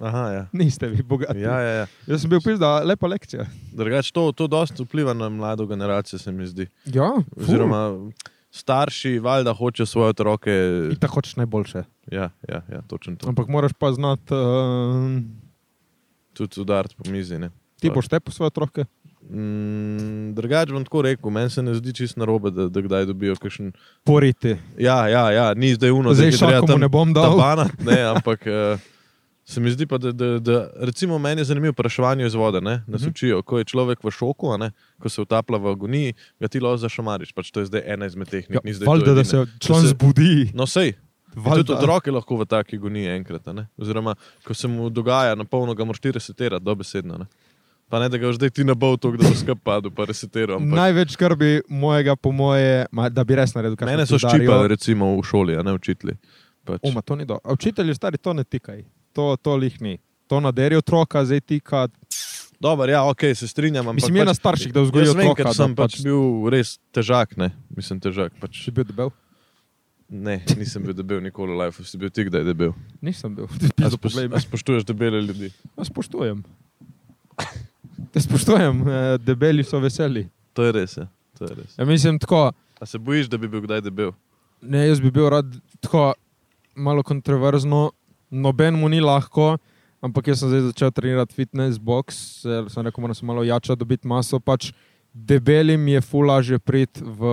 Aha, ja.
niste vi bogati.
Ja, ja, ja.
Jaz sem bil pizda, lepa lekcija.
Drugač, to, to dosta vpliva na mlado generacijo, se mi zdi.
Ja,
Oziroma, starši valjda hoče svoje otroke.
Tako hočeš najboljše.
Ja, ja, ja točno to.
Ampak moraš pa znati, uh,
Tudi udariti po mizi. ne.
ti boš te po svoje otroke.
Mm, drugač bom tako rekel, meni se ne zdi čisto narobe, da, da kdaj dobijo kakšen.
Poriti.
Ja, ja, ja, ni zdaj uno,
Zdaj
da jih je treba
šakom
tam
ne bom dal.
tabana, ne, ampak eh, se mi zdi pa, da, da, da recimo meni je zanimivo vprašanje iz vode. Ne? Nas
Mhm.
učijo, ko je človek v šoku, a ne, ko se utapla v agoniji, ga ti lahko zašamariš. Pač to je zdaj ena izmed tehnik. ni zdaj to
Ja, Valjda, da
edina.
se član
se-
zbudi.
No, sej.
Valjda.
Tudi otrok je lahko v taki agoniji enkrat. a ne. Oziroma, ko se mu dogaja, na polno ga moraš ti resetirati, dobesedno. Ne? Pa ne, da ga boš zdaj ti ne bo to, da bo skup padel, pa resetiral. ampak-
Največ skrbi mojega, po moje, ma, da bi res naredil kaj.
Mene so ščipali, recimo v šoli, a ne učitelji. Pač.
Uma, to ni do. A Učitelji stari to ne tikaj, to, to lihni. To naderi otroka, zdaj tika.
Dobar, ja, ok, se strinjam. ampak pač
Mislim, je na starših, da vzgojijo
Jaz vem,
otroka,
ker
da
sem pač
pač-
bil res težak, ne. Mislim, težak. Pač.
Če bi bil debel,
Ne, nisem bil debel nikoli v life, si bil ti kdaj debel.
nisem bil.
A
Pizdo,
Spoš,
poglej me.
a spoštuješ debele ljudi.
Ja, Spoštujem. Ja, Spoštujem, eh, debeli so veseli.
To je res. Ja. To je res.
Ja, mislim tako.
A se bojiš, da bi bil kdaj debel?
Ne, jaz bi bil rad tako malo kontroverzno, noben mu ni lahko, ampak jaz sem zdaj začel trenirati fitness, box, ker sem rekel, moram se malo jača, dobiti maso. Pač debelim je fulažje priti v.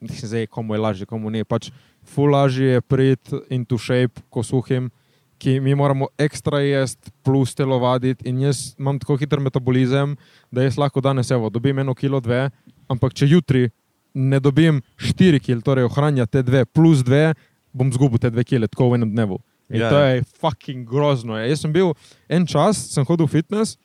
Mislim, zdaj, komu je lažje, komu ni. Pač fulažje je priti in tu shape, ko suhim, ki mi moramo ekstra jesti, plus telovaditi. In jaz imam tako hiter metabolizem, da jaz lahko danes evo, dobim eno kilo, dve, ampak če jutri ne dobim 4 kg, torej ohranja te dve, plus dve, bom zgubil te dve kg, tako v enem dnevu. In
Ja,
yeah. to
ja.
je fucking grozno. je. Jaz sem bil en čas, sem hodil v fitness,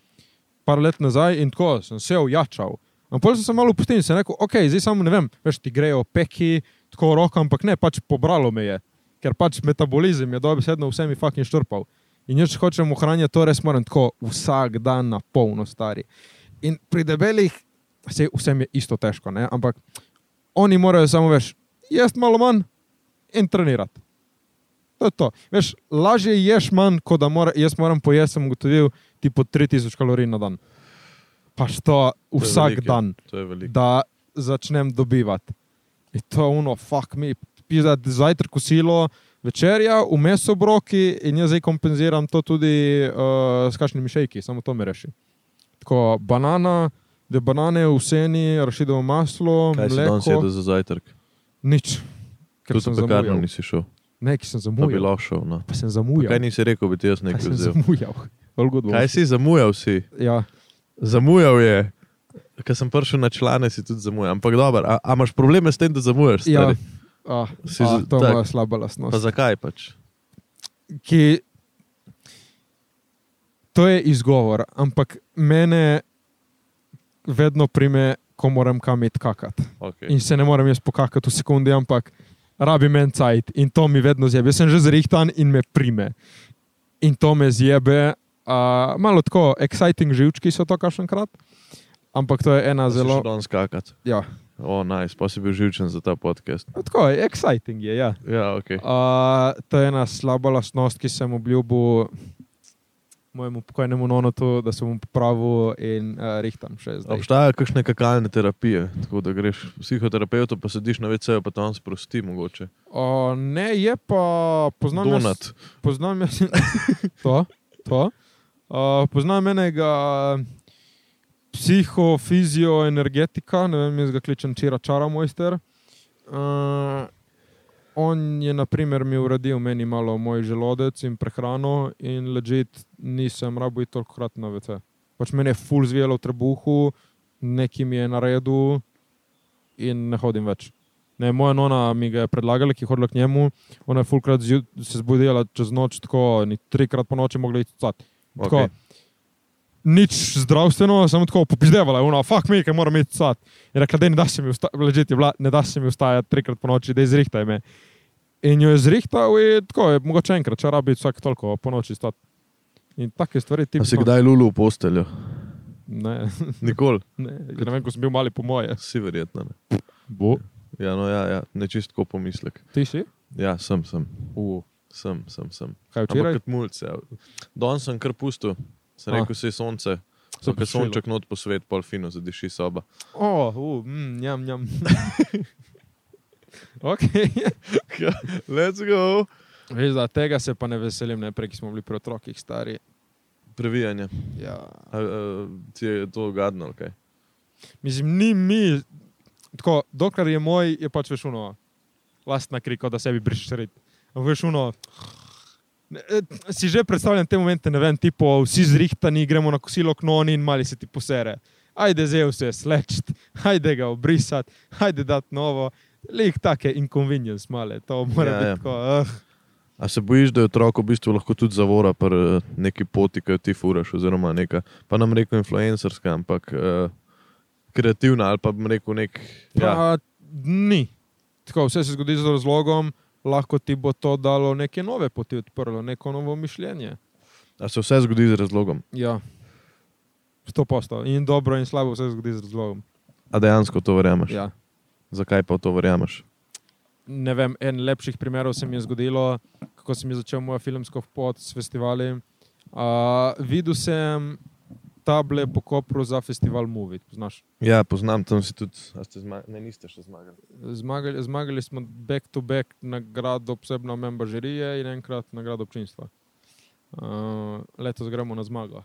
par let nazaj in tako sem se ojačal. Ampak sem se malo opustil in sem rekel, ok, zdaj samo ne vem, veš ti grejo peki, tako roko, ampak ne, pač pobralo me je, ker pač metabolizem je dobesedno vse mi fucking štrpal. In jaz, če hočem ohranjati, to res moram tako vsak dan na polno stari. In pri debelih, saj vsem je isto težko, ne? ampak oni morajo samo več, jesti malo manj in trenirati. To je to. Veš, lažje ješ manj, kot da mora, jaz moram pojesti, sem ugotovil, ti po 3000 kalorij na dan. Pač to
To je
vsak
veliko,
dan
To je veliko.
da začnem dobivati. In to je ono, fuck mi, pisa zajtrk, kosilo, večerja, vmes obroki in jaz zdaj kompenziram to tudi uh, s kakšnimi šejki, samo to mi reši. Tako banana, da banane v seni, rašidovo maslo,
Kaj si danes
mleko,
jedel za zajtrk?
nič. Ker
Tudi
sem
v pekarno
zamujal.
nisi šel.
Ne, ki sem
Pa bi
zamujal.
lahko šel. No.
Pa sem
Pa
zamujal.
Kaj nisi rekel, bi ti jaz
Pa
nekaj
sem
vzel?
zamujal. Olgodbo.
Kaj si zamujal si?
Ja.
Zamujal je. Ker sem prišel na člane, si tudi zamujal. Ampak dobro, a, a imaš probleme s tem, da zamujaš?
ja.
stari?
Ah,
Si
ah,
z-
to je
tak.
moja slaba
Pa
lastnost.
zakaj pač?
ki. To je izgovor, ampak mene vedno prime, ko moram kam iti kakati.
Okay.
In se ne morem jaz pokakati v sekundi, ampak rabi meni cajt in to mi vedno zjebe. Jaz sem že zrihtan in me prime. In to me zjebe. Uh, malo tako, exciting živčki so to kašenkrat, ampak to je ena
Zelo
zelo.
dan skakati.
Ja,
O, naj, nice. pa si bil živčen za ta podcast.
tako je, exciting je. Ja.
Ja, ok.
Uh, to je ena slaba lastnost, ki sem obljubil mojemu pokojnemu nonotu, da sem mu popravil in uh, rihtam še zdaj.
Obstajajo kakšne kakalne terapije, tako da greš psihoterapeutu, pa sediš na veceju, pa tam sprosti mogoče.
Uh, ne, je pa poznam Jaz,
Donat.
poznam jaz to. to. Uh, poznam enega psihofizioenergetika, ne vem, jaz ga kličem Čira Čara Mojster. Uh, On je, na primer, mi uredil meni malo moj želodec in prehrano, in ležit nisem rabo iti toliko krat na vece. Pač meni je full zvijalo v trebuhu, neki mi je naredil in ne hodim več. Ne, moja nona mi ga je predlagala, ki je hodila k njemu, ona je fullkrat se zbudila čez noč, tako ni trikrat po noči mogla iti cat. Tako, Nič zdravstveno, samo tako popizdevala, uno, fuck me, ki moram iti sad. In rekla, da ne da se mi vstajati, ne da se mi vstajati trikrat po noči, da izrihtaj me. In jo je zrihtal in tako je, mogoče enkrat, če rabi vsak toliko po noči stati. In take stvari ti
A si kdaj lulu v posteljo?
Ne,
Nikoli,
ne, ne vem, ko sem bil mali po moje.
si verjetno. Ne.
Bo.
Ja, no, ja, ja. ne čist tako pomislek.
Ti si?
Ja, sem, sem,
U.
sem, sem. sem.
Kaj včeraj?
Ampak kot mulce. Danes sem kar pusto, sem
A.
rekel, se je sonce.
Se
Sem
bo
pa
šilo.
sonček not po svet, pol fino zadiši soba.
O, u, mm, njam, njam. ok.
Let's go!
Veš, da tega se pa ne veselim, ne prej ki smo bili pri otrokih stari.
Previjanje.
Ja.
A, a, ti je to gadno, kaj?
Mislim, ni mi, tako, dokler je moj, je pač veš uno, lastna kriko, da sebi brišeš red. Veš uno, ne, eh, si že predstavljam te momente, ne vem, tipo, vsi zrihtani, gremo na kosilo knoni in mali se ti posere. Ajde, zev se slečt, ajde ga obrisati, ajde dat novo. Lik take inconvenience male, to mora
Ja,
ja, biti
ja.
ja. tako. Uh,
A se bojiš, da je otrok v bistvu lahko tudi zavora pri eh, neki poti, ki jo ti furaš, oziroma neka, pa nam rekel influencerska, ampak uh, kreativna ali pa bi rekel nek. Ja,
Pa, ni. Tako, vse se zgodi z razlogom, lahko ti bo to dalo neke nove poti odprlo, neko novo mišljenje.
a se vse zgodi z razlogom,
Ja. Sto posto. In dobro in slabo vse se zgodi z razlogom.
a dejansko v to verjameš.
Ja.
Zakaj pa v to verjameš?
Ne vem, en lepših primerov se mi je zgodilo, kako sem jaz začel mojo filmsko pot s festivali. Uh, videl sem table po Kopru za festival Movie. Poznaš?
Ja, poznam, tam si tudi, a ste zmagali, ne niste še zmagali.
Zmagali, zmagali smo back-to-back nagrado posebno memba žirije in enkrat nagrado občinstva. Uh, letos gremo na zmago.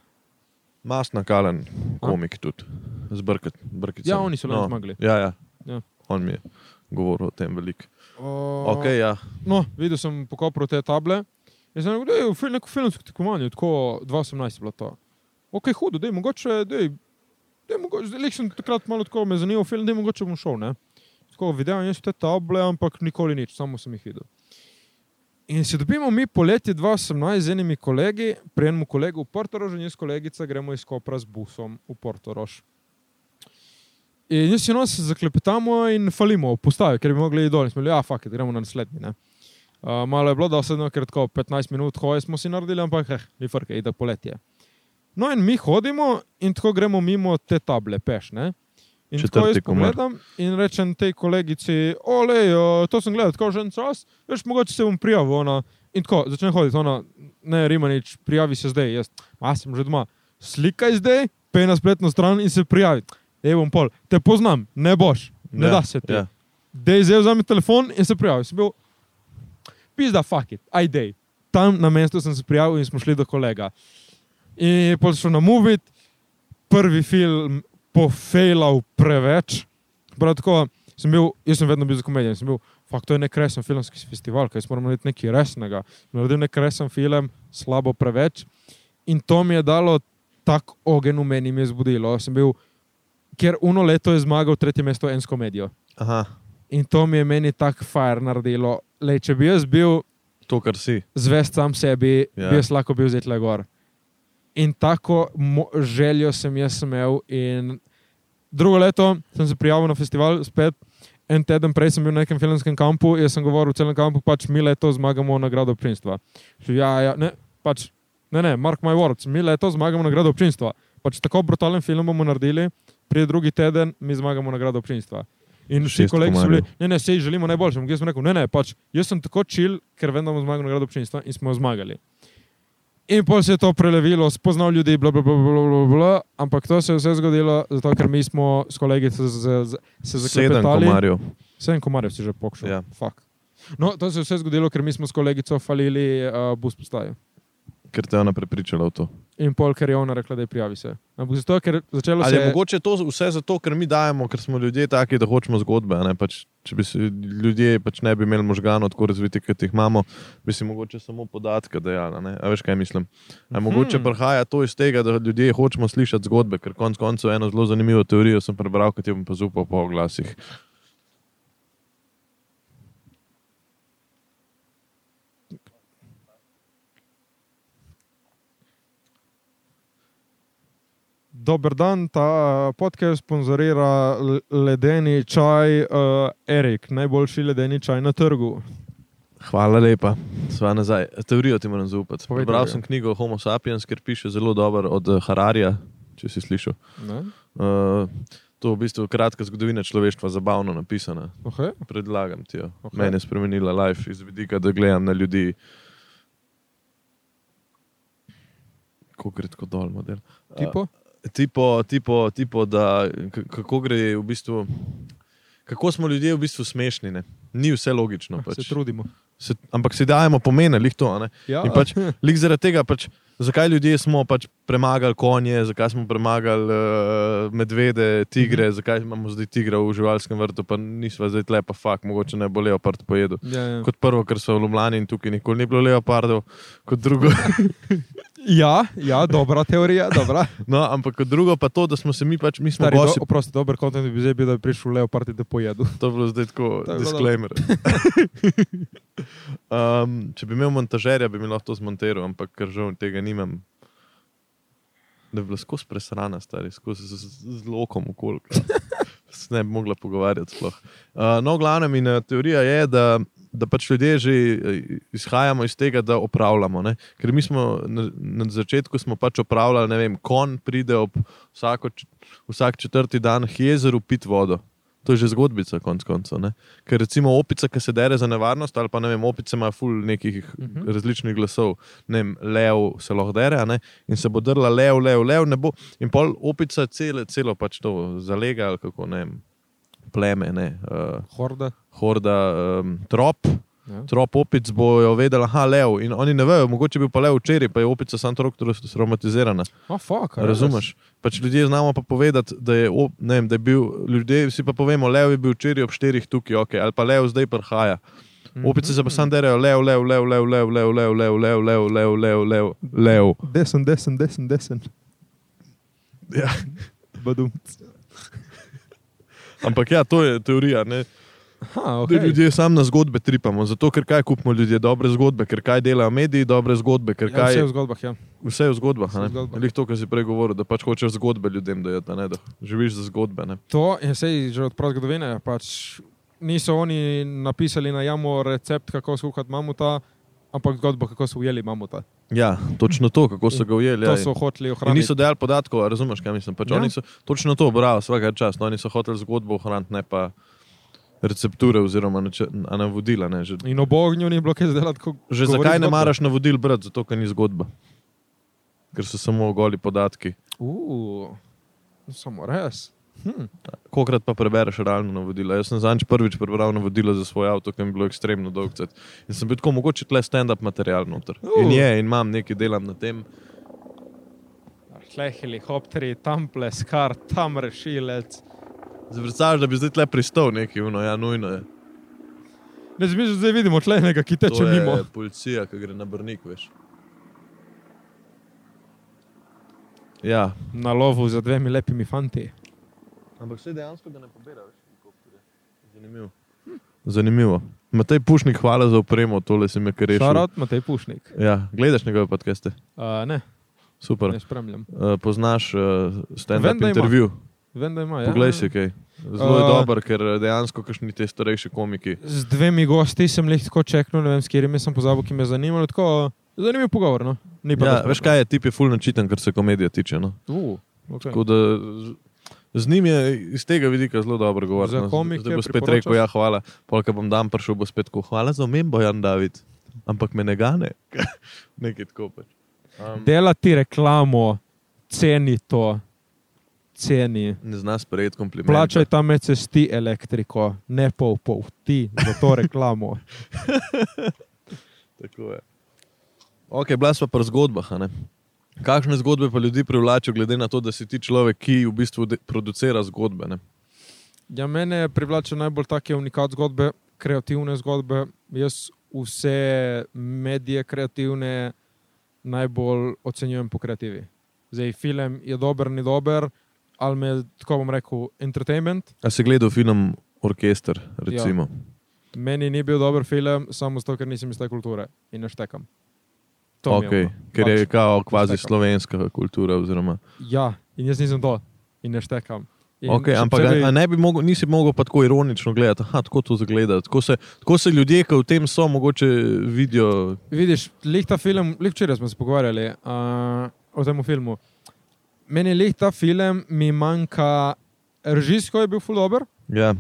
Masna Kalen, komik tudi, z Brkit.
Ja, oni so lani zmagali.
Ja, ja.
Ja.
on mi je govoril o tem veliko.
Uh,
Ok, ja.
No, videl sem pokopro te table. Jaz sem rekel, da je fil- neko filmsko tekmovanje, tako 2018 je bilo to. Ok, hudo, da je mogoče, da je, da je mogoče, zdaj sem takrat malo tako me zanimal film, da je mogoče bom šel, ne. Tako videl sem te table, ampak nikoli nič, samo sem jih videl. In se dobimo mi poletje 2018 z enimi kolegi, pri enem kolegu v Portorožu in jaz kolegica gremo iz Kopra z busom v Portorož. In jaz in on se zaklepetamo in falimo v postavi, ker bi mogli iti dol. In smo rekli, ja, fuck, it, gremo na naslednji. Ne? Uh, malo je bilo, da se eno kratko, 15 minut hoje smo si naredili, ampak eh, ni frke, ide poletje. No in mi hodimo in tako gremo mimo te table, peš. Ne? In tako
Četrti
jaz
komar.
pogledam in rečem tej kolegici, olej, uh, to sem gledal, tako že en čas, veš, mogoče se bom prijavil. Ona, in tako začne hoditi, ona, ne, Rimanič, prijavi se zdaj, jaz, a sem že doma, slikaj zdaj, pej na spletno stran in se prijavi. Ej, bom pol, te poznam, ne boš, ne
ja,
ja, da se ti.
Ja.
Ja. Dej zdaj vzame telefon in se prijavi. Sem bil, pizda, fuck it, ajdej. Tam na mestu sem se prijavil in smo šli do kolega. In pol šel na Movit, prvi film pofejlal preveč. Prav tako sem bil, jaz sem vedno bil za komedijo, in sem bil, fakt to je nek resen filmski festival, kaj smo morali narediti nekaj resnega. Naredil nek resen film, slabo preveč. In to mi je dalo tak ogen v meni, mi je zbudilo. Sem bil, ker uno leto je zmagal tretje mesto en s komedijo.
Aha,
In to mi je meni tako far naredilo. Lej, če bi jaz bil
to, kar si.
zvest sam sebi,
Ja.
yeah. bi jaz lahko bil zjutraj gor. In tako mo- željo sem jaz imel. In drugo leto sem se prijavil na festival, spet en teden prej sem bil na nekem filmskem kampu in sem govoril v celem kampu, pač mi leto zmagamo nagrado občinstva. Še, ja, ja, ne, pač, ne, ne, mark my words, mi leto zmagamo nagrado občinstva. Pač tako brutalen film bomo naredili, prije drugi teden mi zmagamo nagrado občinstva. In vsi
Šest
kolegi so bili,
komarjev.
ne, ne, sej želimo najboljšem. Jaz sem rekel, ne, ne, pač jaz sem tako čil, ker vem, da bomo zmagali nagrado občinstva in smo jo zmagali. In pol se je to prelevilo, spoznal ljudi, bla, bla, bla, bla, bla, bla, ampak to se je vse zgodilo, zato ker mi smo s kolegi se, se, se
Sedem
zaklepetali.
komarjev.
Sedem komarjev si že pokšal.
Ja.
Fuck. No, to se je vse zgodilo, ker mi smo s kolegico falili uh, bus postajo.
Ker te je ona prepričala v to.
In pol, ker je ona rekla, da je prijavi se. Ampak zato, ker začelo se
Ali je mogoče to vse zato, ker mi dajemo, ker smo ljudje taki, da hočemo zgodbe. a ne? Pač, če bi se ljudje pač ne bi imeli možganov tako razvitih, kot jih imamo, bi si mogoče samo podatke dajali. a ne? A veš, kaj mislim? A je mogoče
Mhm.
prihaja to iz tega, da ljudje hočemo slišati zgodbe, ker konec koncev eno zelo zanimivo teorijo sem prebral, ki ti jo bom pa zaupal po oglasih.
Dober dan, ta eh, podcast sponzorira l- ledeni čaj uh, Erik, najboljši ledeni čaj na trgu.
Hvala lepa, sva nazaj. Teorijo ti moram zaupati.
Povej
Bral
teorijo.
sem knjigo Homo sapiens, ker piše zelo dober od eh, Hararija, če si slišal.
Ne?
Uh, to je v bistvu kratka zgodovina človeštva, zabavno napisana.
Okay.
Predlagam ti jo.
Ok.
Okay. Mene je spremenila life iz vidika, da gledam na ljudi. Kako gre tako dol, model?
Tipo?
tipo, tipo, tipo da k- kako gre v bistvu. Kako smo ljudje v bistvu smešni, ne? ni vse logično.
Pač. Se
Pač.
trudimo.
Se, ampak si dajemo pomen, ali to. a ne?
Ja,
In pač, lih zaradi tega, pač, zakaj ljudje smo pač premagali konje, zakaj smo premagali uh, medvede, tigre, mhm. zakaj imamo zdaj tigra v živalskem vrtu, pa nismo zdaj tle, pa fakt, mogoče ne bo leopard pojedel.
ja, ja.
Kot prvo, ker so v Ljubljani in tukaj nikoli ni bilo leopardov, kot drugo.
ja, ja, dobra teorija. Dobra.
No, ampak kot drugo pa to, da smo se mi pač, mi smo
Stari, do,
gosti
oprosti, dober kontent bi zdaj bil, da bi prišel Leopard in te pojedel.
To je bilo zdaj tako,
To je bilo
disclaimer. um, če bi imel montažerja, bi mi lahko to zmontiral, ampak ker žal tega nimam. Da bi bila skozi presrana, stari, skozi z, z, z lokom okolk. Se ne bi mogla pogovarjati sploh. Uh, no, glavna mi teorija je, da, da pač ljudje že eh, izhajamo iz tega, da opravljamo. Ne? Ker mi smo na, na začetku smo pač opravljali, ne vem, kon pride ob vsako, č- vsak četrti dan k jezeru pit vodo. To je že zgodbica, konc koncev. ne. Ker recimo opica, ki se dere za nevarnost, ali pa ne vem, opice ima ful nekih uh -huh. različnih glasov, ne vem, lev se lahko dere, a ne? in se bo drla lev, lev, lev, ne bo. In pol opica cele, celo pač to zalega, ali kako ne vem, pleme, ne, uh,
Horda.
horda, um, trop.
Ja.
Trop opic bojo vedeli, da je lev. In oni ne vejo, mogoče bi pa lev včeraj, pa je opica sam trop traumatizirana.
Oh, fuck, a
Razumeš? Pač ljudje znamo pa povedati, da je, o- ne vem, da je bil, ljudje vsi pa povemo, lev je bil včeraj ob štirih tukaj, okay, ali pa lev zdaj prhaja.
Mhm.
Opice se pa sam derajo, lev, lev, lev, lev, lev, lev, lev, lev, lev, lev, lev, lev, lev, lev.
Desen, desen, desen, desen.
Ja.
Badum.
Ampak ja, to je teorija. Ne?
Ha,
Okay.
okay.
Ljudje sam na zgodbe tripamo, zato ker kaj kupimo ljudje, dobre zgodbe, ker kaj delajo mediji, dobre zgodbe, ker
Ja,
kaj
vse je v zgodbah, ja.
Vse je v zgodbah.
Vse je v zgodbah.
Lih to, kar si prej govoril, da pač hočeš zgodbe ljudem dajati, a ne, da živiš za zgodbe. Ne?
To je sej že od prazgodovine. Pač niso oni napisali na jamo recept, kako skuhati mamuta, ampak zgodbo, kako so ujeli mamuta.
Ja, točno to, kako so ga ujeli.
To
ja,
so hoteli
In
ohraniti.
niso dejali podatkov, a razumeš, kaj mislim. Pač
Ja.
ja. so, točno to, bravo, vsaka čas. No, oni so hoteli zgodbo ohraniti, ne pa recepture oziroma nače, a navodila. Ne? Že,
In ob ognju ni bilo kaj zdelati. ko
že
govori
zakaj ne
zgodbo.
maraš navodil brati? Zato, ker ni zgodba. Ker so samo goli podatki.
Uh, samo res. Hm.
Kokrat pa prebereš realno navodila. Jaz sem zadnjič prvič prebral navodila za svoj avto, ki mi je bilo ekstremno dolg. cajt. In sem bil tako mogoče tle stand-up material noter. Uh. In
Uh.
je, in imam nekaj, delam na tem.
Tle helikopteri, tam pleskar, tam rešilec.
Zvrcaš, da bi zdaj tle pristal neki, uno, ja, nujno je.
Ne zmišljaj, zdaj vidimo tle enega, ki teče
To je
mimo.
Policija, ki gre na Brnik, veš. Ja.
Na lovu za dvemi lepimi fanti.
Ampak vse dejansko ga ne pobira več. Zanimivo. Zanimivo. Matej Pušnik, hvala za opremo, tole si me kar rešil.
Šarot, Matej Pušnik.
Ja, gledaš njegove podcaste?
Uh, ne,
Super.
ne spremljam.
Uh, poznaš uh,
Ja. Vem,
stand-up
da ima.
intervju?
Vem, da ima. Ja.
Poglej si kaj. Zelo je
Eh.
dober, ker dejansko kakšni te starejši komiki.
Z dvemi gosti sem jih tako čeknil, ne vem, s katerimi sem pozabil, ki me zanimajo. Tako, zanimiv pogovor, no. Ni pa
Ja,
dosti.
veš kaj je, tip je full načiten, kar se komedije tiče. No?
Uh, okay.
Tako da z- z njim je iz tega vidika zelo dobro govoriti.
Za
no.
komike
Zdaj bo spet
priporočaš?
rekel, ja, hvala. Polka bom dan prišel, bo spet rekel, hvala za omembo, Jan David. Ampak me ne gane. Nekaj tako pač. Um,
Delati reklamo, ceni to, ceni.
ne zna sprejeti komplimentov.
Plačaj tam med cesti elektriko, ne pol pol ti za to reklamo.
Tako je. Ok, bila sva pri zgodbah. a ne? Kakšne zgodbe pa ljudi privlačijo, glede na to, da si ti človek, ki v bistvu de- producira zgodbe? Ne?
Ja, mene privlače najbolj take unikat zgodbe, kreativne zgodbe. Jaz vse medije kreativne najbolj ocenjujem po kreativi. Zdaj, film je dober, ni dober, ali me, tako bom rekel, entertainment.
A si gledal film Orkester, recimo?
Ja, Meni ni bil dober film, samo zato, ker nisem iz te kulture in ne štekam. To mi je
Okay,
ono.
ker je
Pač,
kao kvazi
Stekam.
slovenska kultura. Oziroma,
Ja, in jaz nisem to. In ne štekam. In
okay,
še
ampak
posebej-
a ne bi mogel, nisi mogel pa tako ironično gledati, aha, tako to zgleda. Tako se, tako se ljudje, ki v tem so, mogoče vidijo.
Vidiš, lih ta film, lih včeraj smo se pogovarjali uh, o tem filmu. Meni lih ta film, mi manjka, režijsko je bil ful dober,
Ja.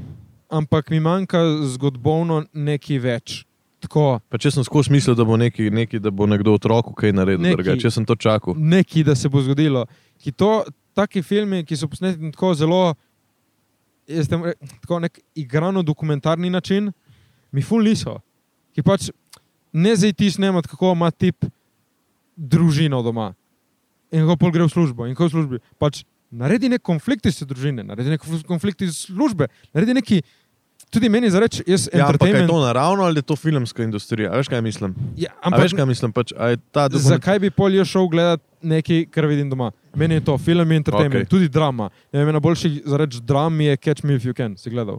ampak mi manjka zgodbovno nekaj več. Tako,
Pa če sem skozi mislil, da bo, neki, neki, da bo nekdo otroku kaj naredil,
Neki.
drugače, če sem to čakal.
nekaj, da se bo zgodilo. Ki to, taki filmi, ki so posneti tako zelo, jaz tem re- tako nek igrano dokumentarni način, mi ful niso. Ki pač ne zdaj ti snemati, kako ima tip družino doma. In kako pol gre v službo, in ko je v službi. Pač naredi nek konflikt iz te družine, naredi nek fus- konflikt iz službe, naredi neki. Tudi meni za reči, jaz
Ja, ampak a je
entertainment.
to naravno ali je to filmska industrija? A Veš kaj mislim?
Ja,
Ampak, veš
ampak
kaj mislim? Pač, a je ta dokument-
Zakaj bi pol je šel gledati nekaj, kar vidim doma? Meni je to film in entertainment,
Okej.
okay. tudi drama. Ne vem, ena boljših za reči dram je Catch Me If You Can, si gledal.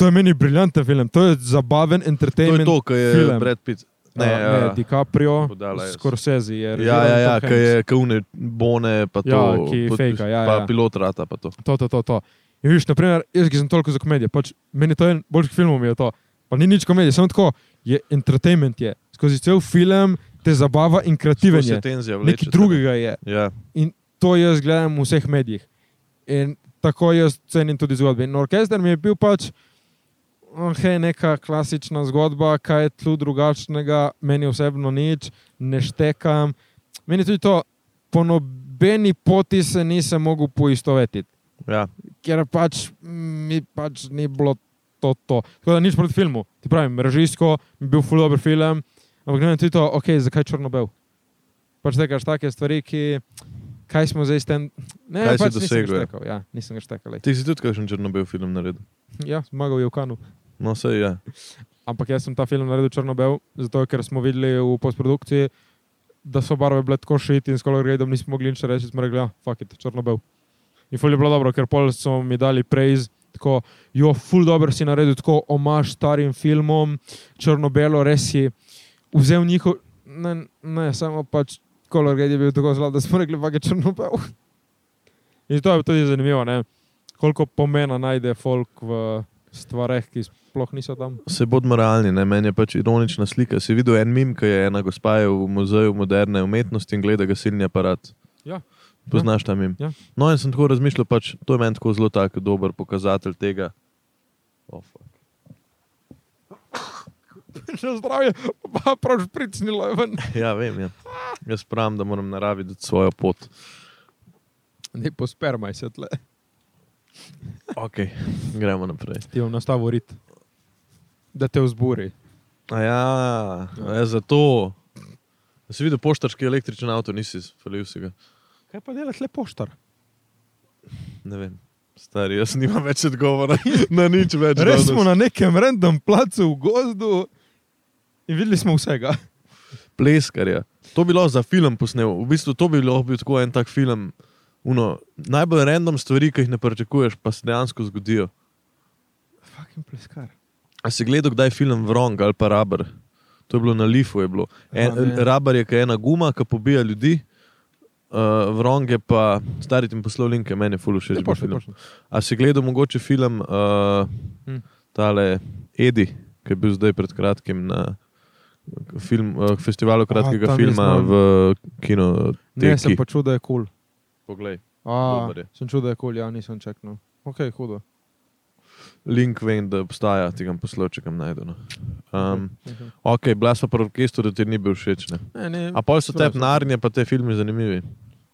To je meni briljanten film, to je zabaven
To je
entertainment.
to, kar je
film.
Brad Pitt. Ne,
ne, ne,
ja.
DiCaprio,
Podala je.
Scorsese je
Ja,
režiral
ja, ja,
Tom
ki
Hanks.
je kaune bone, pa to,
Ja, ki
kot-
fejka, ja,
pa
ja.
pilot rata, pa to.
To, to, to, to. In vidiš, naprimer, jaz ki sem toliko za komedijo, pač meni to je en boljših filmov je to. Pa ni nič komedije, samo tako, je entertainment je. Skozi cel film te zabava in
Ko
kreativen
se
je.
tenzija vleče.
Nekaj drugega je.
Ja.
to jaz gledam v vseh medijih. In tako jaz cenim tudi zgodbe. In orkester mi je bil pač okay, neka klasična zgodba, kaj je tu drugačnega, meni osebno nič, ne štekam. Meni tudi to, po nobeni poti se nisem mogel poistovetiti,
Ja.
ker pač mi pač ni bilo to. to. Tako da nič proti filmu. Ti pravim, režijsko mi je bil ful dober film, ampak gledam tudi to, okay, zakaj črno-bel. Pač tekaš take stvari, ki. Kaj smo zdaj s tem? Ne,
Kaj si
pač nisem ga
dosegel?
štekal, Ja, nisem ga štekal. lej.
Ti si tudi kakšen črno-bel film naredil.
Ja, zmagal je v kanu.
No, sej, ja.
Ampak jaz sem ta film naredil črno-bel, zato ker smo videli v postprodukciji, da so barve bile tako šit in s koloredom nismo mogli nič reči, smo rekli, ja, fuck it, črno-bel. In ful je bilo dobro, ker pol so mi dali prejz, tako, jo, ful dobro si naredil, tako omaž starim filmom, črno-belo, res si vzel njihov, ne, ne samo pač kolored je bil tako zlat, da smo rekli, fuck it, črno-bel. In to je tudi zanimivo, ne? koliko pomena najde folk v stvareh, ki sploh niso tam.
Se bodimo realni, ne? meni je pač ironična slika. Si videl en mim, ki je ena gospa je v muzeju moderne umetnosti in gleda gasilni aparat.
Ja.
Poznaš ta mim.
Ja.
No, in sem tako razmišljal, pač, to je meni tako zelo tak dober pokazatelj tega. Oh, fuck.
Še zdravje, pa prav špricnilo je ven.
ja, vem. Ja. Jaz pravim, da moram naravi dati svojo pot.
Ne pospermaj se tle.
Okay. Gremo naprej.
Ti je v nastavu rit, da te vzburi.
A ja, a ja zato. A Si videl poštarski električen avto, nisi spalil si ga.
Kaj pa delaš le poštar?
Ne vem. Stari, jaz nimam več odgovora na nič več.
Res
danes.
smo na nekem random placu v gozdu in videli smo vsega.
pleskarja. To bi lahko za film posnel. V bistvu to bi lahko bil tako en tak film. Uno, najbolj random stvari, ki jih ne pričakuješ, pa se dejansko zgodijo.
Fucking pleskar.
A si gledal kdaj film Vrong ali pa Rabar? To je bilo na Lifu. je Bilo. En,
A, ne.
rabar je kaj ena guma, ki pobija ljudi. Uh, Vrong je pa, stari ti bom poslal linke, meni je fululo še
Ne pošlji, no. pošlji.
A si gledal mogoče film uh,
Hm.
hmm. Tale Edi, ki je bil zdaj pred kratkim na film, uh, festivalu kratkega
tam
A,
jaz
filma
znam.
v kinu?
Ne, sem pa čudo je kul. Cool.
Poglej,
A,
Dober je.
Sem čudo je kul, cool, ja, nisem čekal. Ok, hudo.
link vem, da obstaja, ti ga posločekam najdu. No. Um, ok, bila sva pri orkestru, da ti ni bil všeč. Ne?
Ne, ne,
A pol so te
Sva-
narnje, pa te filmi zanimivi.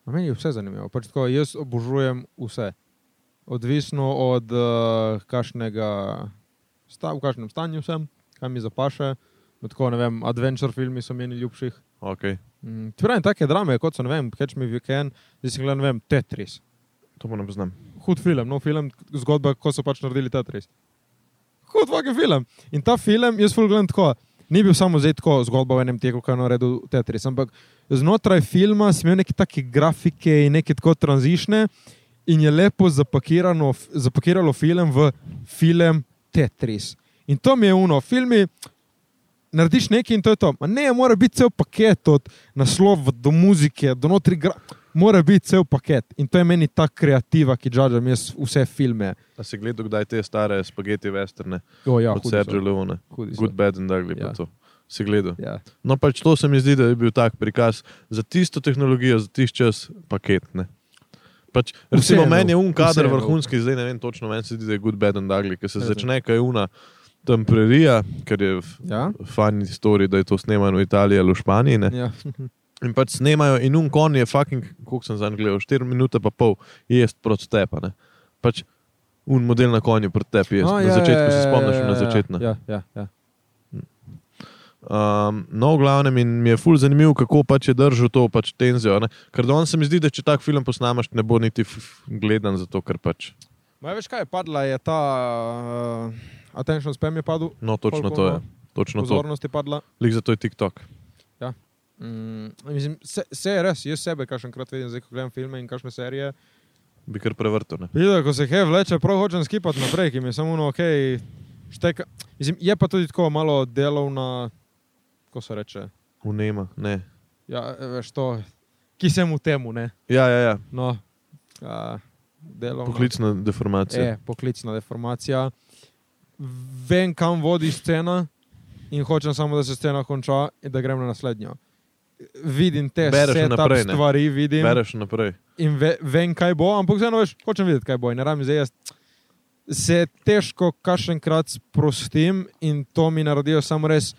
A Meni je vse zanimivo. Pač tako, jaz obožujem vse. Odvisno od uh, kašnega, sta, v kakšnem stanju sem, kaj mi zapaše. Me Tako, ne vem, adventure filmi so meni ljubših.
Okay.
Mm, ti pravim, take drame, kot so, ne vem, Catch Me If You Can, zdaj si gledam, ne vem, Tetris.
To pa ne poznam.
Hud film, no film, zgodba, ko so pač naredili Tetris. Hud fucking film. In ta film, jaz ful gledam tako, ni bil samo zdaj tako zgodba v enem teku, kaj je naredil Tetris, ampak znotraj filma sem imel neke take grafike in neke tako tranzišne in je lepo zapakirano, f- zapakiralo film v film Tetris. In to mi je uno, filmi, narediš nekaj in to je to. Ma ne, mora biti cel paket, od naslova do muzike, do notri, gra... mora biti cel paket. In to je meni ta kreativa, ki žadam jaz vse filme.
A si gledal, kdaj te stare spageti westerne,
O, ja,
od
hudi so,
Sergio Leone,
hudi so.
Good, Bad and Ugly,
Ja.
pa to. Si gledal.
Ja.
No, pač to se mi zdi, da je bil tak prikaz za tisto tehnologijo, za tisti čas paketne. Pač, recimo,
Vseeno,
meni je un kader
vseeno.
vrhunski, zdaj ne vem točno, meni se zdi, da je good, bad and ugly, ker se
Ja,
začne kaj una tam prerija, ker je f-
Ja?
fani story, da je to snemano v Italiji ali v Španiji. Ne?
Ja.
In pač snemajo, in un kon je fucking, koliko sem zanj gledal, 4 minute pa pol, jaz proti tepa. Ne? Pač un model na konju proti tepi, jaz,
A,
oh, na
ja,
začetku
ja,
se
ja,
spomniš,
ja,
na
ja,
začetku.
Ja, ja, ja.
Um, no, v glavnem in mi je ful zanimivo, kako pač je držal to pač tenzijo. Ne? Ker on se mi zdi, da če tak film posnameš, ne bo niti f- f- gledan, zato ker pač.
Ma, veš, kaj je padla, je ta uh, attention spam je padel,
No, točno
Koliko
to je.
ima?
Točno to.
pozornost je padla.
Lik zato je TikTok.
Mm, mislim, se, se je res, jaz sebe kakšenkrat vidim, zdaj ko gledam filme in kakšne serije.
Bi kar prevrtel. Ne?
Videla, ko se hej vleče, prav hočem skipati naprej, ki mi je samo ono, ok, šteka. Mislim, je pa tudi tako malo delovna, ko se reče,
Unema. Ne.
ja, veš to, ki se mu temu, ne.
Ja, ja, ja.
No, a, delovna.
Poklicna deformacija.
E, poklicna deformacija. Vem, kam vodi scena in hočem samo, da se scena konča in da grem na naslednjo. Vidim te
Bereš
setup
vnaprej, ne?
stvari, vidim
Bereš naprej.
in ve, vem, kaj bo, ampak vseeno veš, hočem videti, kaj bo. in Ne rabim zdaj jaz. Se težko kašenkrat sprostim in to mi naredijo samo res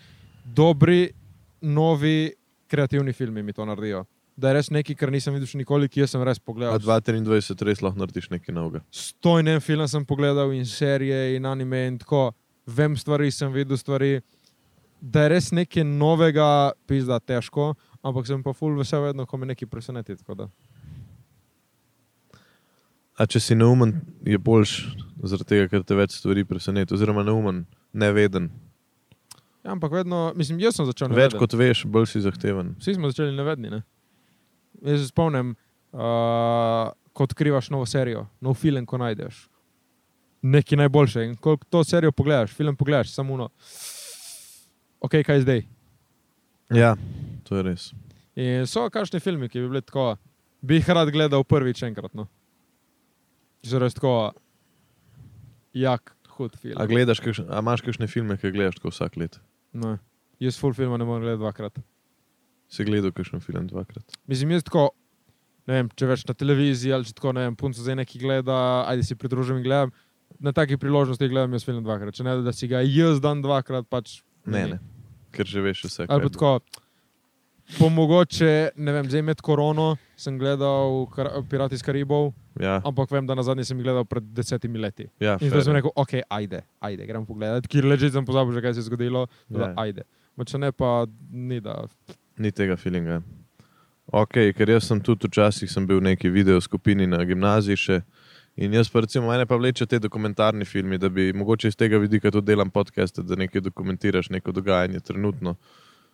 dobri, novi, kreativni filmi mi to naredijo. Da je res nekaj, kar nisem videl še nikoli, ki jaz sem res
A
pogledal.
2,23 res lahko narediš nekaj novega.
Stojnem film sem pogledal in serije in anime in tako. Vem stvari, sem videl stvari. Da je res nekaj novega, pizda težko, ampak sem pa full vesel vedno, ko me nekaj preseneti. tako da.
A če si neumen, je boljš, zaradi tega, ker te več stvari preseneti. Oziroma neumen, neveden.
Ja, ampak vedno, mislim, jaz sem začel
Več
neveden.
kot veš, bolj si zahteven.
Vsi smo začeli nevedni. Ne? Jaz se spomnim, uh, ko odkrivaš novo serijo, nov film, ko najdeš. Nekaj najboljše. In ko to serijo pogledaš, film pogledaš, samo uno. Ok, kaj zdaj.
Ja, to je res.
In so kakšni filmi, ki bi bili tako, bi jih rad gledal prvič enkrat. No. Že res tako, jak hud film.
A, gledaš, kakšn, a imaš kakšne filme, ki jih gledaš tako vsak let?
Ne. No. Jaz full filma ne morem gledati dvakrat.
Si gledal kakšen film dvakrat?
Mislim, jaz tako, ne vem, če več na televiziji ali če tako, ne vem, punco zdaj neki gleda, ajde si pridružim in gledam. Na taki priložnosti gledam jaz film dvakrat, če ne da si ga jaz dan dvakrat, pač
Ne, ne. Ker že veš vse.
Ali pa
kaj bo.
tako, po mogoče, ne vem, zdaj med korono sem gledal Kar- Pirati iz Karibov,
Ja,
ampak vem, da na zadnji sem jih gledal pred desetimi leti.
ja,
In
fair
zdaj sem
je.
rekel, ok, ajde, ajde grem pogledat, ki leži, sem pozabil, že kaj se je zgodilo, da
Ja.
ajde. Ma Če ne, pa ni da.
Ni tega filinga. Ok, ker jaz sem tudi včasih sem bil v neki video skupini na gimnaziji še. In jaz pa recimo, mene pa vleče te dokumentarni filmi, da bi mogoče iz tega vidika tudi delam podcaste, da nekaj dokumentiraš, neko dogajanje trenutno.